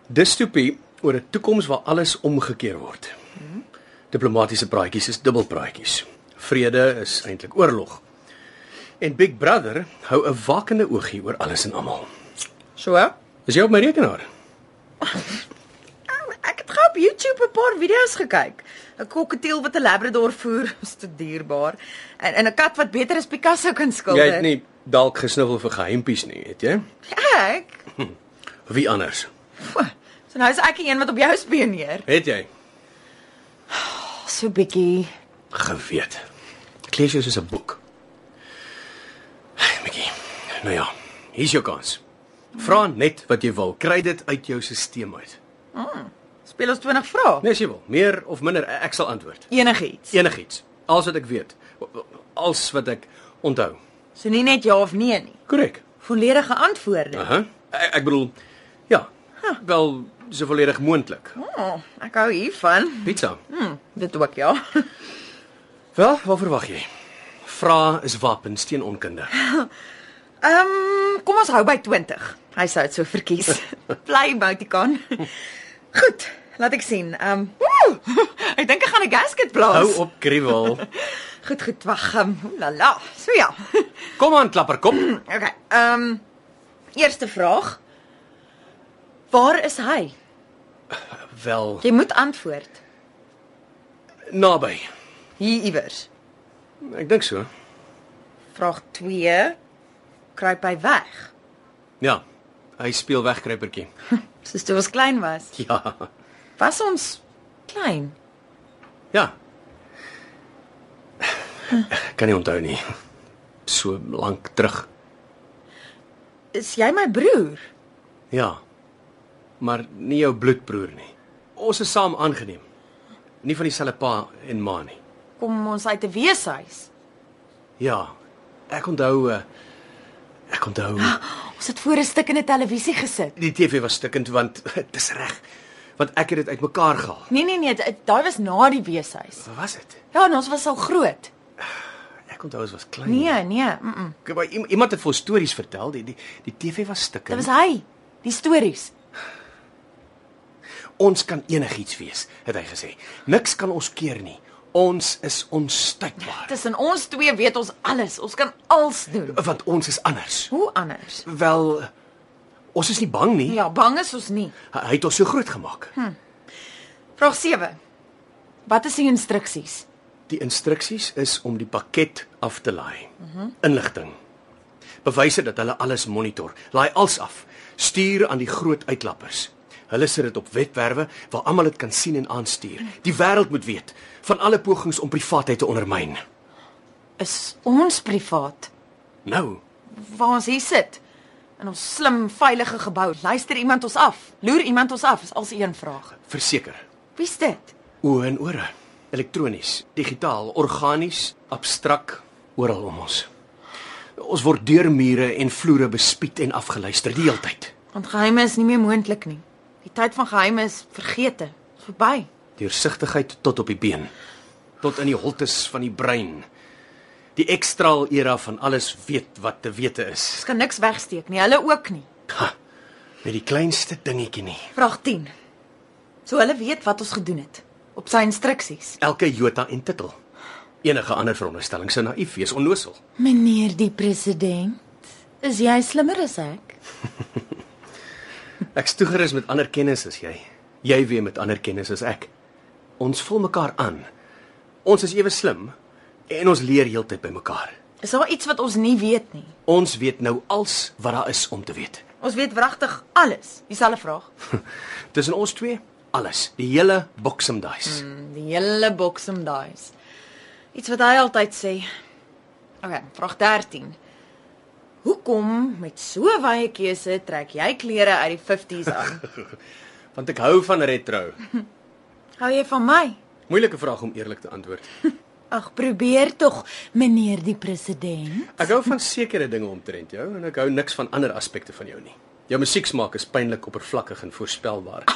Speaker 2: Dystopie oor 'n toekoms waar alles omgekeer word. Diplomatisiese praatjies is dubbelpraatjies. Vrede is eintlik oorlog. En Big Brother hou 'n wakende oogie oor alles en almal.
Speaker 3: So? Ou,
Speaker 2: Is jy op my rekenaar?
Speaker 3: Ek het gou op YouTube 'n paar video's gekyk. 'n Kokketiel wat 'n Labrador voer, is te dierbaar. En en 'n kat wat beter as Picasso kan skilder.
Speaker 2: Jy het nie dalk gesniffel vir geheimpies nie, het jy?
Speaker 3: Ek.
Speaker 2: Wie anders?
Speaker 3: Pff, So nou is ek die een wat op jou spioneer.
Speaker 2: Het jy
Speaker 3: So bietjie.
Speaker 2: geweet? Ek lees jou soos 'n boek. Mickey. Nou ja, hier's jou kans. Vra net wat jy wil. Kry dit uit jou stelsel uit.
Speaker 3: Speel ons 20 vrae.
Speaker 2: Nee, Ja. as jy wil, meer of minder, e-, ek sal antwoord.
Speaker 3: Enigiets.
Speaker 2: Enigiets. Alles wat ek weet. Alles wat ek onthou.
Speaker 3: So nie net ja of nee nie.
Speaker 2: Korrek.
Speaker 3: Volledige antwoorde.
Speaker 2: Aha. Ek, ek bedoel ja. Wel Dis volledig moontlik.
Speaker 3: Oh, ek hou hiervan.
Speaker 2: Pizza.
Speaker 3: Hm, dit ook ja.
Speaker 2: Wel, wat verwag jy? Vra is wapens teen onkunde.
Speaker 3: Ehm, um, kom ons hou by 20. Hy sou dit so verkies. Bly Boutikan. Goed, laat ek sien. Ehm, um, ek dink ek gaan 'n
Speaker 2: Hou
Speaker 3: gasket blaas.
Speaker 2: op, Kriewel.
Speaker 3: Goed, goed, wag. Um, la la. So ja.
Speaker 2: Kom aan, klapperkop.
Speaker 3: Okay. Ehm, um, eerste vraag. Waar is hy?
Speaker 2: Wel,
Speaker 3: Jy moet antwoord.
Speaker 2: naby.
Speaker 3: Hier iewers.
Speaker 2: Ek dink so.
Speaker 3: Vraag 2. Kruip hy weg?
Speaker 2: Ja. Hy speel wegkruipertjie.
Speaker 3: Soos toe ons klein was.
Speaker 2: Ja.
Speaker 3: Was ons klein?
Speaker 2: Ja. Ek kan nie onthou nie. So lank terug.
Speaker 3: Is jy my broer?
Speaker 2: Ja. Maar nie jou bloedbroer nie. Ons is saam aangeneem. Nie van dieselfde pa en ma nie.
Speaker 3: Kom ons uit 'n weeshuis.
Speaker 2: Ja. Ek onthou eh, ek onthou
Speaker 3: Ons het voor 'n stuk in 'n televisie gesit.
Speaker 2: die TV was stikkend want dis reg. Want ek het dit uitmekaar gehaal.
Speaker 3: Nee nee nee, dit- daai was na die weeshuis.
Speaker 2: Wat was dit?
Speaker 3: Ja, en ons was al groot.
Speaker 2: Ek onthou ons was klein.
Speaker 3: Nee, nee, mm. -mm.
Speaker 2: Ek, maar, iem- iemand het vir ons stories vertel. Die die, die TV was
Speaker 3: Dit
Speaker 2: stikkend.
Speaker 3: was hy. Die stories.
Speaker 2: Ons kan enigiets wees, het hy gesê. Niks kan ons keer nie. Ons is onstuitbaar,
Speaker 3: Tussen ons twee weet ons alles. Ons kan alles doen.
Speaker 2: want ons is anders.
Speaker 3: Hoe anders?
Speaker 2: Wel, eh, ons is nie bang nie.
Speaker 3: Ja, bang is ons nie.
Speaker 2: Hy hy het ons so groot gemaak.
Speaker 3: Vraag 7. Wat is die instruksies?
Speaker 2: Die instruksies is om die pakket af te laai. Inligting. Bewyse dat hulle alles monitor. Laai alles af. Stuur aan die groot uitlappers. Hulle sit dit op webwerwe waar almal dit kan sien en aanstuur. Die wêreld moet weet van alle pogings om privaatheid te ondermyn.
Speaker 3: Is ons privaat
Speaker 2: Nou,
Speaker 3: waar ons hier sit? In ons slim, veilige gebou. Luister iemand ons af? Loer iemand ons af? Is als een vraag.
Speaker 2: verseker,
Speaker 3: Wie's dit?
Speaker 2: Oë en ore. Elektronies, digitaal, organies, abstrak, oral om ons. Ons word deur mure en vloere bespied en afgeluister die heeltyd.
Speaker 3: Want geheime is nie meer moontlik nie. Die tyd van geheime is vergete, verby.
Speaker 2: Deursigtigheid tot op die been, tot in die holtes van die brein. Die ekstraal era van alles weet wat te wete is.
Speaker 3: Ons kan niks wegsteek nie, hulle ook nie.
Speaker 2: Ha, met die kleinste dingetjie nie.
Speaker 3: Vraag 10. So hulle weet wat ons gedoen het op sy instruksies.
Speaker 2: Elke jota en titel. Enige ander veronderstelling sou naïef wees, onnosel.
Speaker 3: Meneer die president, is jy slimmer as ek?
Speaker 2: Ek's toegerus met ander kennis as jy. Jy weer met ander kennis as ek. Ons vul mekaar aan. Ons is ewe slim en ons leer heeltyd by mekaar.
Speaker 3: Is daar iets wat ons nie weet nie?
Speaker 2: Ons weet nou als wat daar is om te weet.
Speaker 3: Ons weet wragtig alles. Dieselfde vraag.
Speaker 2: Tussen ons twee, alles, die hele boksemdice. Mm.
Speaker 3: Die hele boksem daai's. Iets wat hy altyd sê. Okay, vraag 13. Hoekom met so wye keuse trek jy klere uit die 50s aan?
Speaker 2: Want ek hou van retro.
Speaker 3: Hou jy van my?
Speaker 2: Moeilike vraag om eerlik te antwoord.
Speaker 3: Ag, probeer tog, meneer die president.
Speaker 2: Ek hou van sekere dinge omtrent jou en ek hou niks van ander aspekte van jou nie. Jou musieksmaak is pynlik oppervlakkig en voorspelbaar.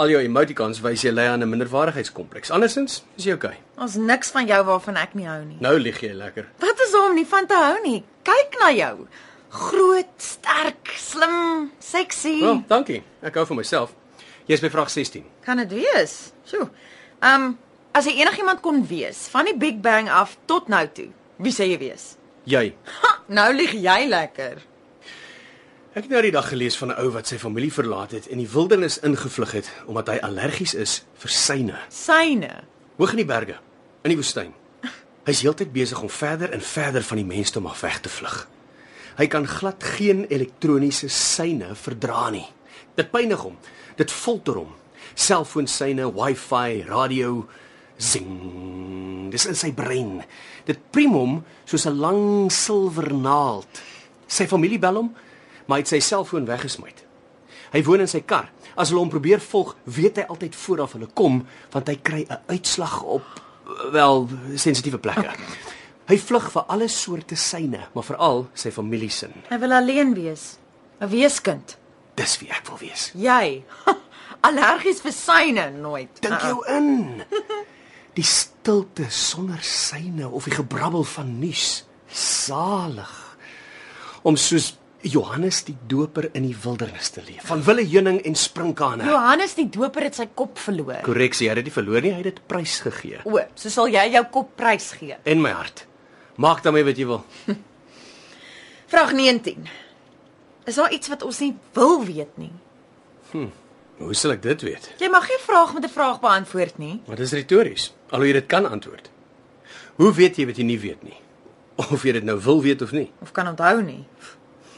Speaker 2: Al jou emoticons wys jy lei aan 'n minderwaardigheidskompleks. Andersins is jy okay.
Speaker 3: Ons niks van jou waarvan ek nie hou nie.
Speaker 2: Nou lieg jy lekker.
Speaker 3: Wat is daar om nie van te hou nie? Kyk na jou. Groot, sterk, slim, sexy.
Speaker 2: Wel, dankie. Ek hou van myself. Jy's by vraag 16.
Speaker 3: Kan dit wees? Sjoe. Ehm um, as jy enigiemand kon wees van die Big Bang af tot nou toe, wie sê jy wees?
Speaker 2: Jy.
Speaker 3: Ha, nou lieg jy lekker.
Speaker 2: Ek het nou die dag gelees van 'n ou wat sy familie verlaat het en die wildernis ingevlug het omdat hy allergies is vir syne.
Speaker 3: Syne.
Speaker 2: Hoog in die berge, in die woestyn. Hy's heeltyd besig om verder en verder van die mense te mag weg te vlug. Hy kan glad geen elektroniese syne verdra nie. Dit pynig hom. Dit folter hom. Selfoonsyne, Wi-Fi, radio, zing. Dis in sy brein. Dit priem hom soos 'n lang silwer naald. Sy familie bel hom, maar hy het sy selfoon weggesmy. Hy woon in sy kar. As hulle hom probeer volg, weet hy altyd vooraf hulle kom want hy kry 'n uitslag op eh, wel sensitiewe plekke. Hy vlug vir alle soorte syne, maar veral sy familie se.
Speaker 3: Hy wil alleen wees. 'n Weeskind.
Speaker 2: Dis wie ek wil wees.
Speaker 3: Jy. Ha, Allergies vir syne nooit. Uh-uh.
Speaker 2: Dink jou in. Die stilte sonder syne of die gebrabbel van nuus. Salig om soos Johannes die Doper in die wildernis te leef, van wille heuning en sprinkane.
Speaker 3: Johannes die Doper het sy kop verloor.
Speaker 2: Korreksie, hy het dit verloor nie, hy het dit prysgegee.
Speaker 3: O, so sal jy jou kop prys gee.
Speaker 2: En my hart. Maak daarmee wat jy wil.
Speaker 3: Vraag 19. Is daar iets wat ons nie wil weet nie?
Speaker 2: Hoe sal ek dit weet?
Speaker 3: Jy mag nie vraag met 'n vraag beantwoord nie.
Speaker 2: Maar dis retories, alhoewel jy dit kan antwoord. Hoe weet jy wat jy nie weet nie? Of jy dit nou wil weet of nie?
Speaker 3: of kan onthou nie.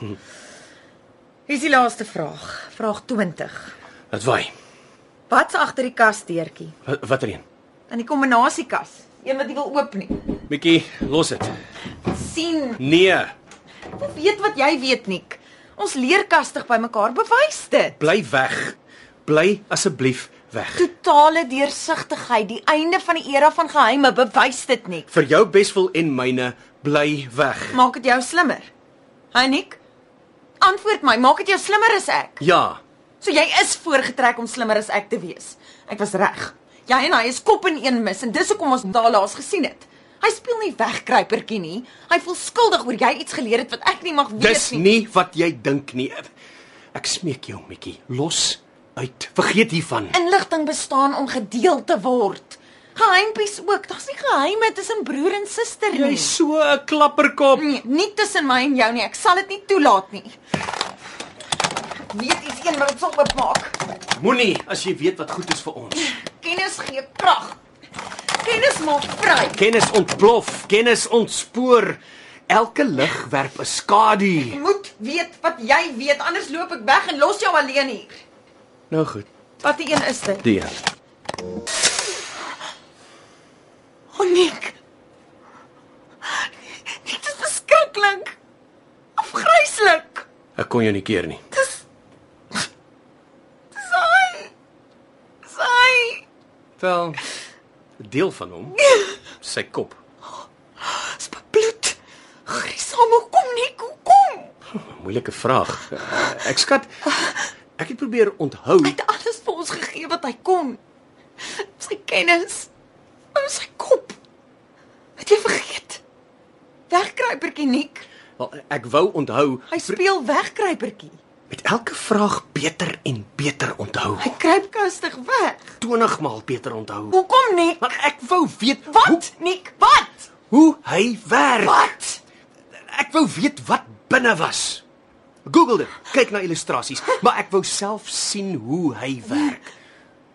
Speaker 3: Hier is die laaste vraag, vraag 20.
Speaker 2: Wat waai?
Speaker 3: Wat's agter die kasdeurtjie?
Speaker 2: Wa- Watter een?
Speaker 3: In die kombinasiekas, een wat jy wil oop nie.
Speaker 2: Mikkie, los dit.
Speaker 3: sien,
Speaker 2: Nee,
Speaker 3: jy weet wat jy weet nie. Ons leerkastig by mekaar bewys dit.
Speaker 2: bly weg. Bly asseblief weg.
Speaker 3: Totale deursigtigheid, die einde van die era van geheime, bewys dit nie.
Speaker 2: Vir jou beswil en myne, bly weg.
Speaker 3: Maak dit jou slimmer. Hanik, antwoord my, maak dit jou slimmer as ek.
Speaker 2: Ja,
Speaker 3: So jy is voorgetrek om slimmer as ek te wees. Ek was reg. Jy en hy is kop in een mis en dis hoekom ons daal laas gesien het. Hy speel nie wegkruipertjie nie. Hy voel skuldig oor jy iets geleer het wat ek nie mag weet
Speaker 2: dis nie wat jy dink nie. Ek smeek jou, Mikkie, los uit. Vergeet hiervan.
Speaker 3: Inligting bestaan om gedeel te word. Geheimpies ook. Daar's nie geheime tussen broer en suster nie.
Speaker 2: Jy's so 'n klapperkop.
Speaker 3: Nee, nie tussen my en jou nie. Ek sal dit nie toelaat nie. Ek weet iets een wat dit sal oopmaak.
Speaker 2: Moenie as jy weet wat goed is vir ons.
Speaker 3: Kennis gee krag. Kennis maak vry.
Speaker 2: Kennis ontplof, kennis ontspoor. Elke lig werp 'n skadu.
Speaker 3: Jy moet weet wat jy weet, anders loop ek weg en los jou alleen hier.
Speaker 2: Nou goed.
Speaker 3: Wat 'n een is dit?
Speaker 2: Die.
Speaker 3: Oniek. nee. Dit is beskiklik. Afgryslik.
Speaker 2: Ek kon jou nie keer nie.
Speaker 3: Sai. Sai.
Speaker 2: Wel, 'n deel van hom, sy kop.
Speaker 3: Dis bebloed. Grisame kom nie, kom.
Speaker 2: 'n Moeilike vraag. Eh, Ek skat ek het probeer onthou.
Speaker 3: Hy het alles vir ons gegee wat hy kon. Sy kennis, maar sy kop. Het jy vergeet? Wegkruipertjie Niek.
Speaker 2: Wel, ek wou onthou.
Speaker 3: Hy speel wegkruipertjie.
Speaker 2: met elke vraag beter en beter onthou.
Speaker 3: Hy kruip kastig weg.
Speaker 2: 20 maal beter onthou.
Speaker 3: Hoekom nie?
Speaker 2: Want ek wou weet hoe,
Speaker 3: Wat? Nik, wat?
Speaker 2: hoe hy werk.
Speaker 3: Wat?
Speaker 2: Ek wou weet wat binne was. Google dit. Kyk na illustrasies, maar ek wou self sien hoe hy werk.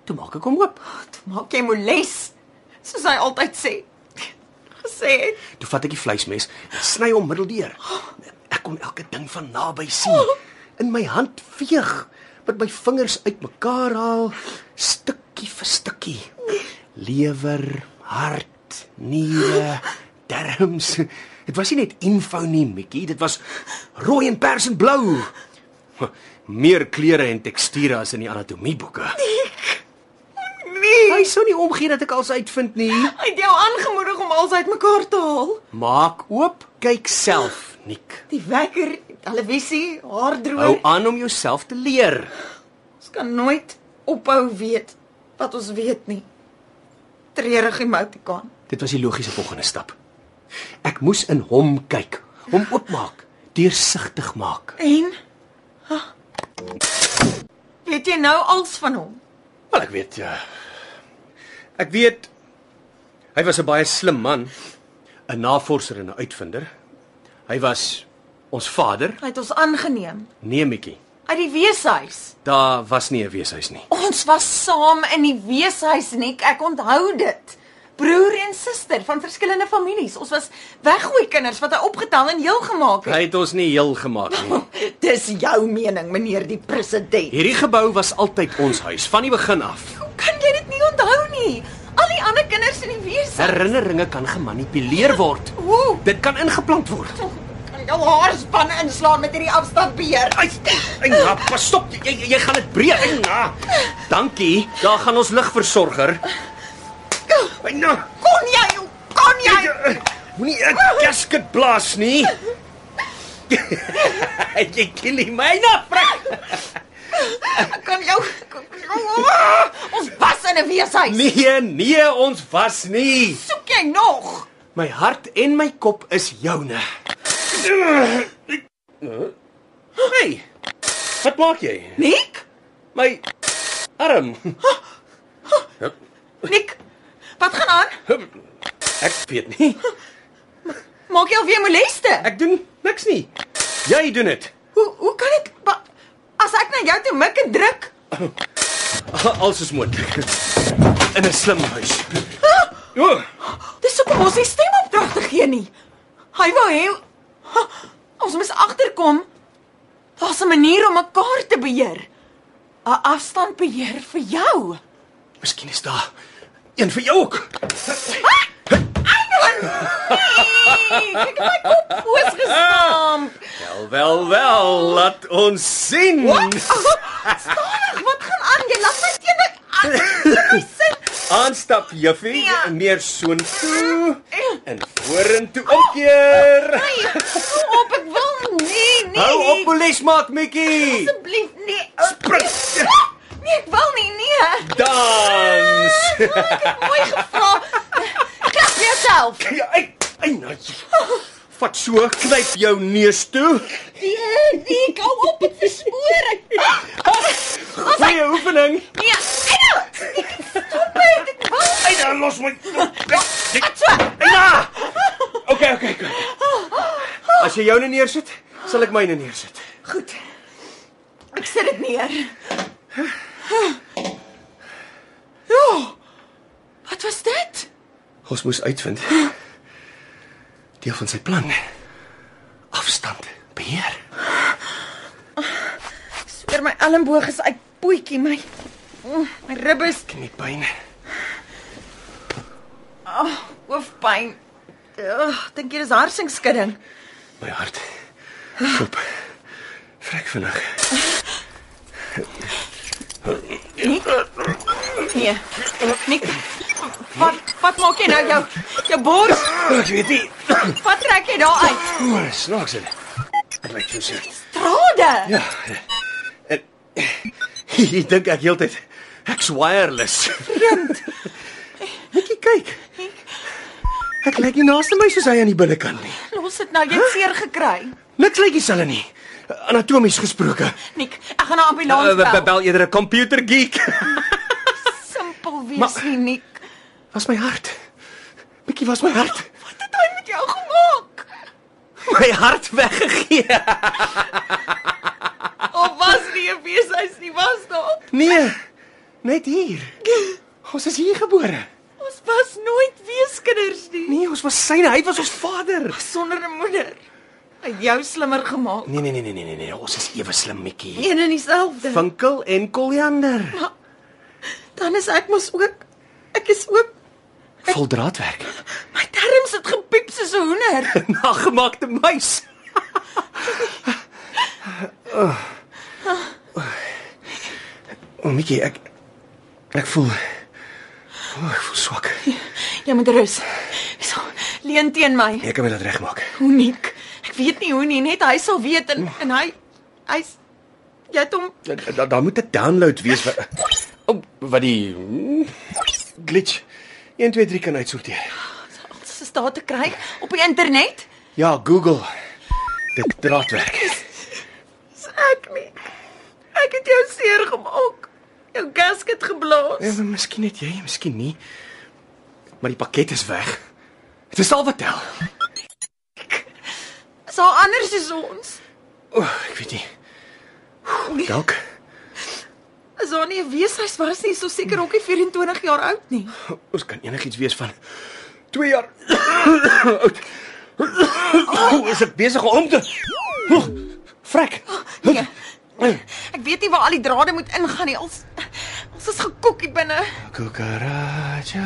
Speaker 2: Toe maak ek hom oop.
Speaker 3: Toe maak jy moles, soos hy altyd sê. Gesê het.
Speaker 2: Toe vat ek die vleismes en sny hom middeldeur. Ek kon elke ding van naby sien. In my hand veeg, met my vingers uitmekaar haal, stukkie vir stukkie. Lewer, hart, niere, darmes. Dit was nie net info nie, Mikkie, dit was rooi en pers en blou. Meer kleure en teksture as in die anatomieboeke.
Speaker 3: Nee,
Speaker 2: Hy sou nie omgee dat ek alles uitvind nie.
Speaker 3: hy het jou aangemoedig om alles uitmekaar te haal.
Speaker 2: Maak oop, kyk self, Nik.
Speaker 3: Die wekker, die televisie, haar
Speaker 2: Hou
Speaker 3: droom.
Speaker 2: aan om jouself te leer.
Speaker 3: Ons kan nooit ophou weet wat ons weet nie. Treurige emotikaan.
Speaker 2: Dit was die logiese volgende stap. Ek moes in hom kyk, hom oopmaak, deursigtig maak.
Speaker 3: En Ah. Weet jy nou als van hom?
Speaker 2: Wel, ek weet ja. Ek weet hy was 'n baie slim man, 'n navorser en 'n uitvinder. Hy was ons vader,
Speaker 3: Hy het ons aangeneem
Speaker 2: nee Mikkie.
Speaker 3: uit die weeshuis.
Speaker 2: Daar was nie 'n weeshuis nie.
Speaker 3: Ons was saam in die weeshuis nik. Ek onthou dit. Broer en suster van verskillende families. Ons was weggooi kinders wat hy opgetel en heel gemaak het.
Speaker 2: Hy het ons nie heel gemaak nie.
Speaker 3: Dis jou mening, meneer die president.
Speaker 2: Hierdie gebou was altyd ons huis van die begin af.
Speaker 3: Hoe kan jy dit nie onthou nie? Al die ander kinders in die weeshuis.
Speaker 2: Herinneringe kan gemanipuleer word.
Speaker 3: Hoe?
Speaker 2: Dit kan ingeplant word.
Speaker 3: Kan jou haarspan inslaan met hierdie afstandbeheer?
Speaker 2: Ai, ai, na, pas stop. Jy jy- jy gaan dit breek. Ai, na. Dankie. Daar gaan ons ligversorger. Ai, na. eh,
Speaker 3: Kon jy? Hoe Kon jy?
Speaker 2: Moenie 'n gasket blaas nie. jy kill my na, prik.
Speaker 3: Ek kan jou Ah! Ons was in 'n weeshuis.
Speaker 2: Nee, nee, ons was nie.
Speaker 3: Soek jy nog?
Speaker 2: My hart en my kop is joune. Hey. Wat maak jy?
Speaker 3: Nick?
Speaker 2: My arm. Hup,
Speaker 3: Nick. Wat gaan aan?
Speaker 2: hup. Ek weet nie.
Speaker 3: Maak jy alweer moleste?
Speaker 2: Ek doen niks nie. Jy doen dit.
Speaker 3: Hoe hoe kan ek wa- as ek na jou toe mik en druk?
Speaker 2: Alles is moontlik. In 'n slim huis. Ah! O,
Speaker 3: Dis hoekom ons nie stemopdragte gee nie. Hy wou hê Ha, ons moet agterkom. Daar's 'n manier om mekaar te beheer. 'n Afstandbeheer vir jou.
Speaker 2: miskien is daar een vir jou ook.
Speaker 3: Hey, kyk my kop oos gestamp.
Speaker 2: Wel, wel, wel, laat ons sien.
Speaker 3: Stadig, wat gaan aan? Jy laat my teen my aan. Jy sit.
Speaker 2: Aanstap, juffie,
Speaker 3: Ja.
Speaker 2: meer soontoe en vorentoe omkeer.
Speaker 3: Hey, hou op, ek wil nie, nee.
Speaker 2: Hou op, polisie maak Mikkie.
Speaker 3: asseblief, nee. Spring. Nee, ek wil nie, nee.
Speaker 2: Dans.
Speaker 3: Mooi gevra. Klap vir jouself.
Speaker 2: Ja, ai, ai, nou. Vat so, knyp jou neus toe.
Speaker 3: Nee, nee, hou op, dit verspoor ek.
Speaker 2: Goeie oefening.
Speaker 3: Nee, uit. Ek stop dit. Ek wil.
Speaker 2: Ai, dan los my. Ja. Okay, okay, okay. As jy joune neersit, sal ek myne neersit.
Speaker 3: Goed. Ek sit dit neer. Ja. Wat was dit?
Speaker 2: Ons moes uitvind deel van sy plan. Afstand beheer.
Speaker 3: Sweer my elmboog is uit pootjie my. mm, My ribbes,
Speaker 2: Knie pyn.
Speaker 3: hoofpyn. Ugh, dink jy dis harsingskudding?
Speaker 2: My hart. Klop. Vrek vinnig.
Speaker 3: Nee. Nik. Wat wat maak jy nou jou jou bors?
Speaker 2: Ek weet nie.
Speaker 3: Wat trek jy daar uit?
Speaker 2: O, snaaks dit. Dit lyk so seer.
Speaker 3: Trade. Ja.
Speaker 2: Ja. eh, En jy dink eh, ek heeltyd ek's wireless. Net kyk. Ek lyk nie naaste my soos hy aan die binnekant nie.
Speaker 3: Los dit nou, jy het seer gekry.
Speaker 2: Niks lyk dieselfde nie. Anatomies gesproke.
Speaker 3: Nik, ek gaan na
Speaker 2: Uh,
Speaker 3: ambulans
Speaker 2: be-
Speaker 3: Eh, bel.
Speaker 2: bel eerder 'n computer geek.
Speaker 3: Simpel wees
Speaker 2: Maar-
Speaker 3: nie, Nik.
Speaker 2: Was my hart. Bietjie was my hart.
Speaker 3: Wat het hy met jou gemaak?
Speaker 2: My hart weggegee.
Speaker 3: Of was nie 'n weeshuis nie, was daar?
Speaker 2: Nee. Net hier. Ons is hier gebore.
Speaker 3: Ons was nooit weeskinders nie.
Speaker 2: Nee, ons was syne. Hy was ons vader.
Speaker 3: Sonder 'n moeder. Hy het jou slimmer gemaak.
Speaker 2: Nee nee nee nee nee nee, nee, ons is ewe slim, Mikkie.
Speaker 3: Een en dieselfde.
Speaker 2: Vinkel en koriander.
Speaker 3: Dan is ek mos ook ek is ook
Speaker 2: Vol draadwerk.
Speaker 3: my terms het gepiep soos 'n hoender.
Speaker 2: Nagemaakte muis. Oh, O, oh, Mikkie, ek ek voel oh, ek voel swak.
Speaker 3: Jy moet Ja, rus. So, leen teen my.
Speaker 2: Ek kan my dit regmaak.
Speaker 3: Uniek. Ek weet nie hoe nie, net hy sal weet en en hy hy's jy het hom
Speaker 2: Daar da, daar moet 'n download wees wat oh, wat die hmm, glitch 1 2 3 kan uitsorteer.
Speaker 3: alles is daar te kry op die internet.
Speaker 2: Ja, Google. Dit draadwerk.
Speaker 3: Dis ek nie. Ek het jou seer gemaak. Jou gasket
Speaker 2: Ja,
Speaker 3: geblaas.
Speaker 2: maar miskien net jy, miskien nie. Maar die pakket is weg. Dit is al wat tel.
Speaker 3: Is haar anders as ons?
Speaker 2: O, oh, ek weet nie. Oeh, Dalk.
Speaker 3: Is haar nie 'n weeshuis was nie, so seker ook nie 24 jaar oud nie.
Speaker 2: Ons kan enigiets wees van 2 jaar oud. O, is ek besig om te Oeg, Frek.
Speaker 3: nee. Ek weet nie waar al die drade moet ingaan nie. Ons ons is gekok hier binne.
Speaker 2: Kukaracha,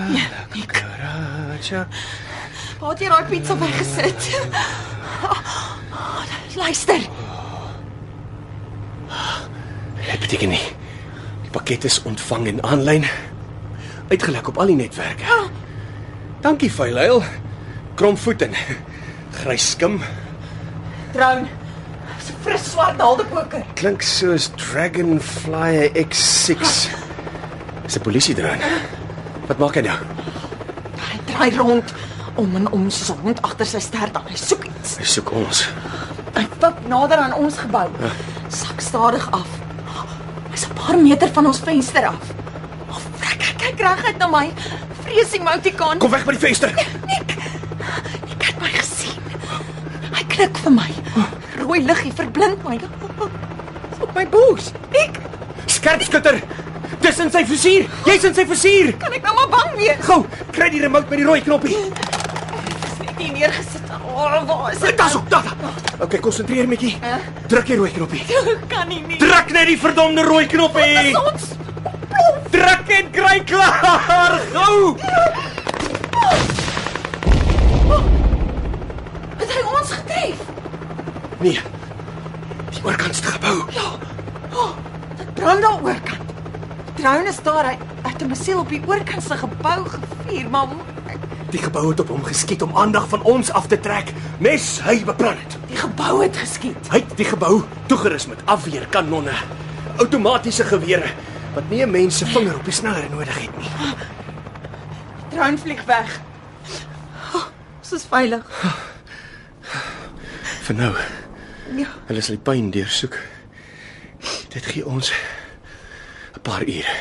Speaker 2: kukaracha.
Speaker 3: Waar het jy daai pizza weggesit? Luister.
Speaker 2: Dit beteken nie. Die pakket is ontvang en aanlyn. Uitgelek op al die netwerke. Dankie, Vuilhuil. Kromvoet en grys skim.
Speaker 3: Drone. Dis 'n fris swart naaldekoker.
Speaker 2: Klink soos Dragonfly X6. Dis 'n polisie drone. Wat maak hy nou?
Speaker 3: Hy draai rond om en om soos 'n hond agter sy stert aan. Hy soek iets.
Speaker 2: Hy soek ons.
Speaker 3: Hy vip nader aan ons gebou.
Speaker 2: Ja.
Speaker 3: Sak stadig af. Hy's 'n paar meter van ons venster af. Oh, frik, hy kyk reguit na my. Vrees emoticon.
Speaker 2: Kom weg by die venster.
Speaker 3: Nick. Nick het my gesien. Hy knik vir my. Rooi liggie verblind my. Dis Op my boes. Nick,
Speaker 2: Skerp skutter. Dis in sy fusier. Jy's in sy fusier.
Speaker 3: kan ek nou maar bang wees?
Speaker 2: Gou, kry die remote met die rooi knoppie.
Speaker 3: Dis net nie neergesit. Oh, waar is dit?
Speaker 2: Das op dat. Okay, konsentreer netjie. Druk die rooi knoppie.
Speaker 3: kan nie nie.
Speaker 2: Druk net die verdomde rooi knoppie.
Speaker 3: Dis ons.
Speaker 2: Druk en kry klaar. Gou.
Speaker 3: Het hy ons getref?
Speaker 2: Nee. Die oorkant se gebou.
Speaker 3: Dit brand daar oorkant. Drone is daar. Hy hy het 'n misiel op die oorkant se gebou gevier, maar hoe-
Speaker 2: Die gebou het op hom geskiet om aandag van ons af te trek, nes hy beplan het.
Speaker 3: die gebou het geskiet.
Speaker 2: Hy het die gebou toegerus met afweerkanonne, outomatiese gewere wat nie 'n mens se vinger op die sneller nodig het nie.
Speaker 3: Drone vlieg weg. Oh, Ons is veilig.
Speaker 2: Vir nou,
Speaker 3: Ja.
Speaker 2: hulle sal die pyn deursoek. Dit gee ons 'n paar ure.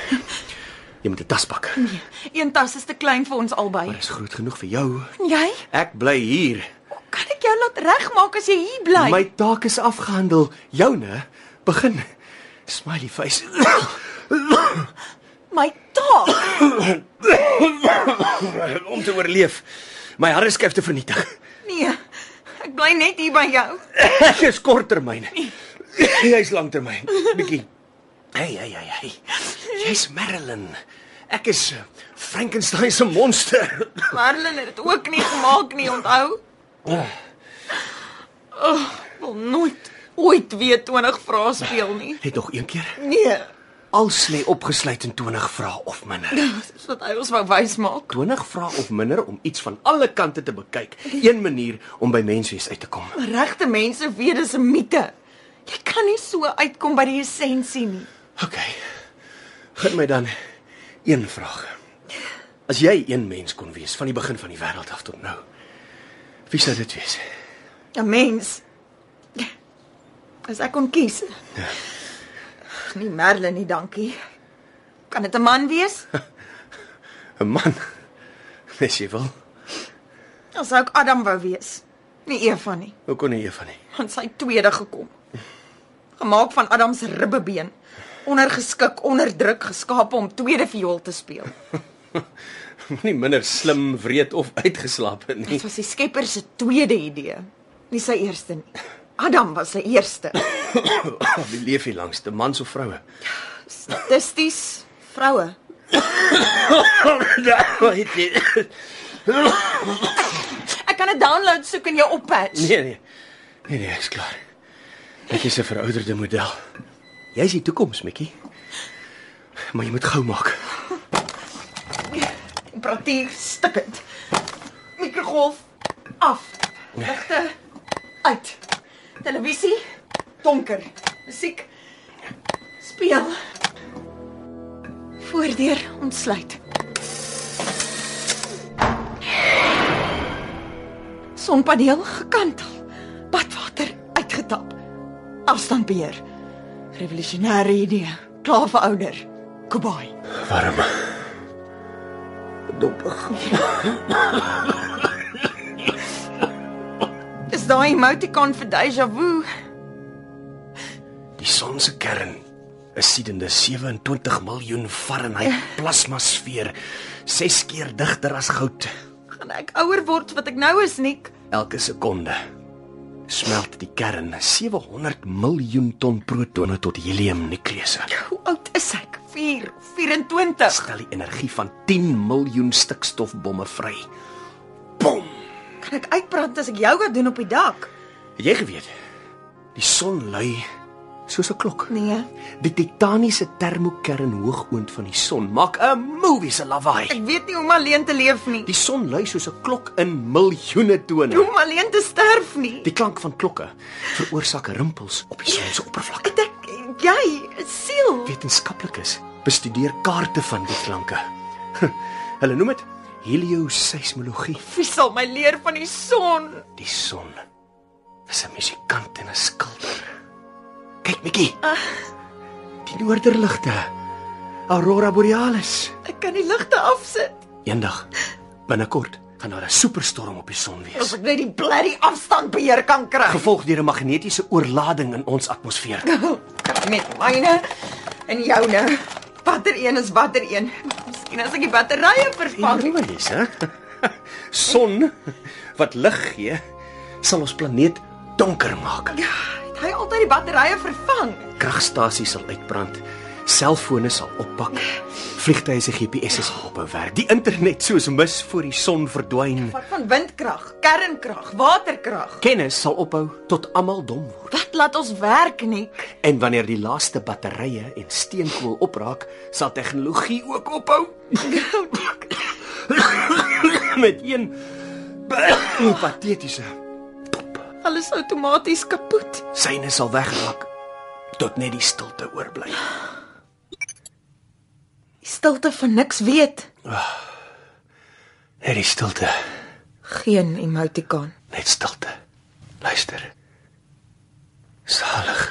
Speaker 2: Jy moet 'n tas pak.
Speaker 3: Nee.
Speaker 2: Maar
Speaker 3: Een tas is te klein vir ons albei.
Speaker 2: dit is groot genoeg vir jou.
Speaker 3: En jy?
Speaker 2: Ek bly hier.
Speaker 3: Hoe kan ek jou laat regmaak as jy hier bly?
Speaker 2: My taak is afgehandel. Joune, begin. Smiley face.
Speaker 3: my taak.
Speaker 2: om te oorleef. My harreskyf te vernietig.
Speaker 3: Nee. Ek bly net hier by jou.
Speaker 2: Ek is korttermyn. Jy's langtermyn. Bietjie. Hey, hey, hey, hey. Jy's Marilyn. Ek is uh, Frankenstein se monster.
Speaker 3: Marlin het dit ook nie gemaak nie, onthou? Oh, wil nooit ooit weer 20 vrae speel nie.
Speaker 2: Net nog een keer.
Speaker 3: Nee.
Speaker 2: Als lê opgesluit in 20 vrae of minder.
Speaker 3: Dis wat hy ons wou wys maak.
Speaker 2: 20 vrae of minder om iets van alle kante te bekyk. Een manier om by menswees uit te kom.
Speaker 3: Regte mense weet dis 'n mite. Jy kan nie so uitkom by die essensie nie.
Speaker 2: OK. Git my dan een vraag. As jy een mens kon wees van die begin van die wêreld af tot nou, wie sou dit wees?
Speaker 3: 'n Ja, Mens. As ek kon kies. Ag, Nie Merlin nie, dankie. Kan dit 'n man wees?
Speaker 2: 'n Man. Mens jy wil.
Speaker 3: Dan sou ek Adam wou wees. Nie Eva nie,
Speaker 2: Hoe kon hy van nie?
Speaker 3: want sy het tweede gekom. Gemaak van Adam se ribbebeen, ondergeskik, onderdruk, geskaap om tweede viool te speel.
Speaker 2: Moenie minder slim, wreed of uitgeslaap nie.
Speaker 3: Dit was die Skepper se tweede idee, nie sy eerste nie. Adam was sy eerste.
Speaker 2: Wie leef hier langs, te mans of vroue?
Speaker 3: Statisties vroue.
Speaker 2: nee,
Speaker 3: Ek kan 'n download soek in jou oppatch.
Speaker 2: nee. Nee nee, ek's klaar. Ek is 'n verouderde model. Jy's die toekoms, Mikkie. Maar jy moet gou maak.
Speaker 3: Temperatuur stikkend. Mikrogolf af. Ligte uit. Televisie donker. Musiek speel. Voordeur ontsluit. Sonpaneel gekantel. Badwater uitgetap. Afstandbeheer. Revolusionêre idee. Klaar vir ouder. Kobai.
Speaker 2: Warm. Dompig.
Speaker 3: Is daai emoticon vir déjà vu?
Speaker 2: Die son se kern is siedende 27 miljoen Fahrenheit plasmasfeer, 6 keer digter as goud.
Speaker 3: Gaan ek ouer word wat ek nou is, Nick?
Speaker 2: Elke sekonde smelt die kern 700 miljoen ton protone tot heliumnukleuse.
Speaker 3: Hoe oud is ek? 4, 24.
Speaker 2: Stel die energie van 10 miljoen stikstofbomme vry. Bom.
Speaker 3: Kan ek uitbrand as ek yoga doen op die dak?
Speaker 2: Het jy geweet? Die son lui soos 'n klok.
Speaker 3: Nee.
Speaker 2: Die titaniese termokern hoogoond van die son maak 'n movie se lawaai.
Speaker 3: Ek weet nie hoe om alleen te leef nie.
Speaker 2: Die son lui soos 'n klok in miljoene tone.
Speaker 3: Hoe om alleen te sterf nie.
Speaker 2: Die klank van klokke veroorsaak rimpels op die son se oppervlak.
Speaker 3: Ek dink jy, siel.
Speaker 2: Wetenskaplikes bestudeer kaarte van die klanke. Hm, Hulle noem dit helioseismologie.
Speaker 3: Wie sal my leer van die son?
Speaker 2: Die son is 'n musikant en 'n skilder. Kyk, Mikkie. Die noorderligte. Aurora borealis.
Speaker 3: Ek kan die ligte afsit.
Speaker 2: Eendag binnekort gaan daar 'n superstorm op die son
Speaker 3: As
Speaker 2: wees,
Speaker 3: ek net die blerrie afstand beheer kan kry.
Speaker 2: gevolg deur 'n magnetiese oorlading in ons atmosfeer.
Speaker 3: Met myne en joune. Watter een is watter een? Miskien as ek die batterye vervang.
Speaker 2: Ironies, hè? Son wat lig gee, sal ons planeet donker maak.
Speaker 3: Ja, Het hy altyd die batterye vervang?
Speaker 2: Kragstasies sal uitbrand. Selfone sal oppak. Vliegtye se GPS is ophou werk. Die internet soos mis voor die son verdwyn.
Speaker 3: Wat van windkrag, kernkrag, waterkrag?
Speaker 2: Kennis sal ophou tot almal dom word.
Speaker 3: Wat laat ons werk nie?
Speaker 2: En wanneer die laaste batterye en steenkool opraak, sal tegnologie ook ophou. Met een patetiese
Speaker 3: Alles outomaties kapot.
Speaker 2: Syne sal wegraak tot net die stilte oorbly.
Speaker 3: Die stilte van niks weet.
Speaker 2: Net die stilte,
Speaker 3: Geen emotikaan.
Speaker 2: net stilte. Luister. Salig.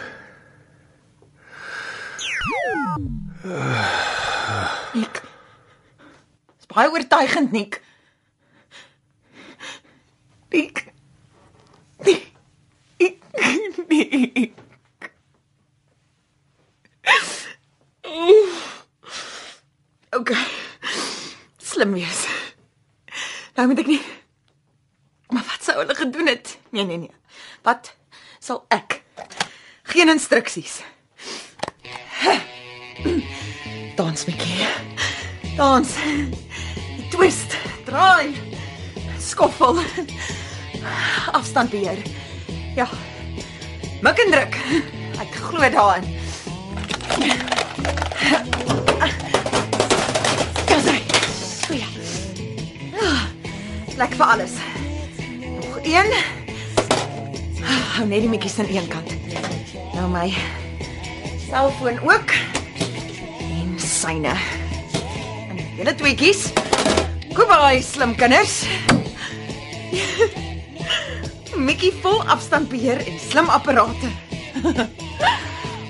Speaker 3: Nik. Dis baie oortuigend, Nik. Nik. Nik. Nik. OK. Slim wees. Nou moet ek nie. Maar wat sou hulle gedoen het? Nee, nee, nee. Wat sal ek? Geen instruksies. Dans bietjie. Dans. Twist, draai. Skoffel. Afstand beheer. Ja. Mik en druk. Ek glo daarin. Gasai. So ja. Ah, Lekker vir alles. Nog een. Hou net die mikkies aan een kant. Nou my selfoon ook en syne. En julle tweetjies. Goodbye slim kinders. Mikkie vol afstandbeheer en slim apparate.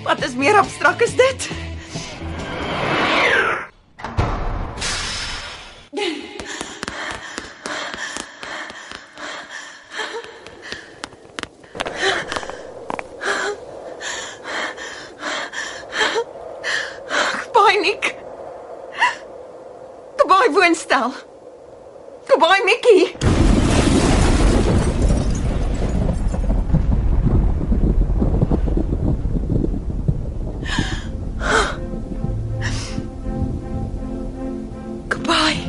Speaker 3: Wat is meer abstrakt as dit? Goodbye Nick. Goodbye woonstel. Goodbye Mikkie. Goodbye.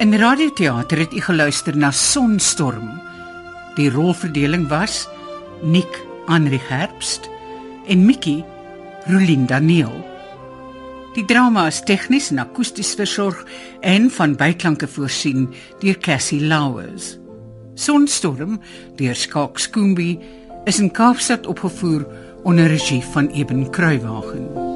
Speaker 1: In radioteater het u geluister na Sonstorm. Die rolverdeling was Nik Anri Herbst en Mikkie Rolien Daniel. Die drama is tegnies en akoesties versorg en van byklanke voorsien deur Cassie Louws. Sonstorm deur Skalk Skoombie is in Kaapstad opgevoer onder regie van Eben Kruiwagen.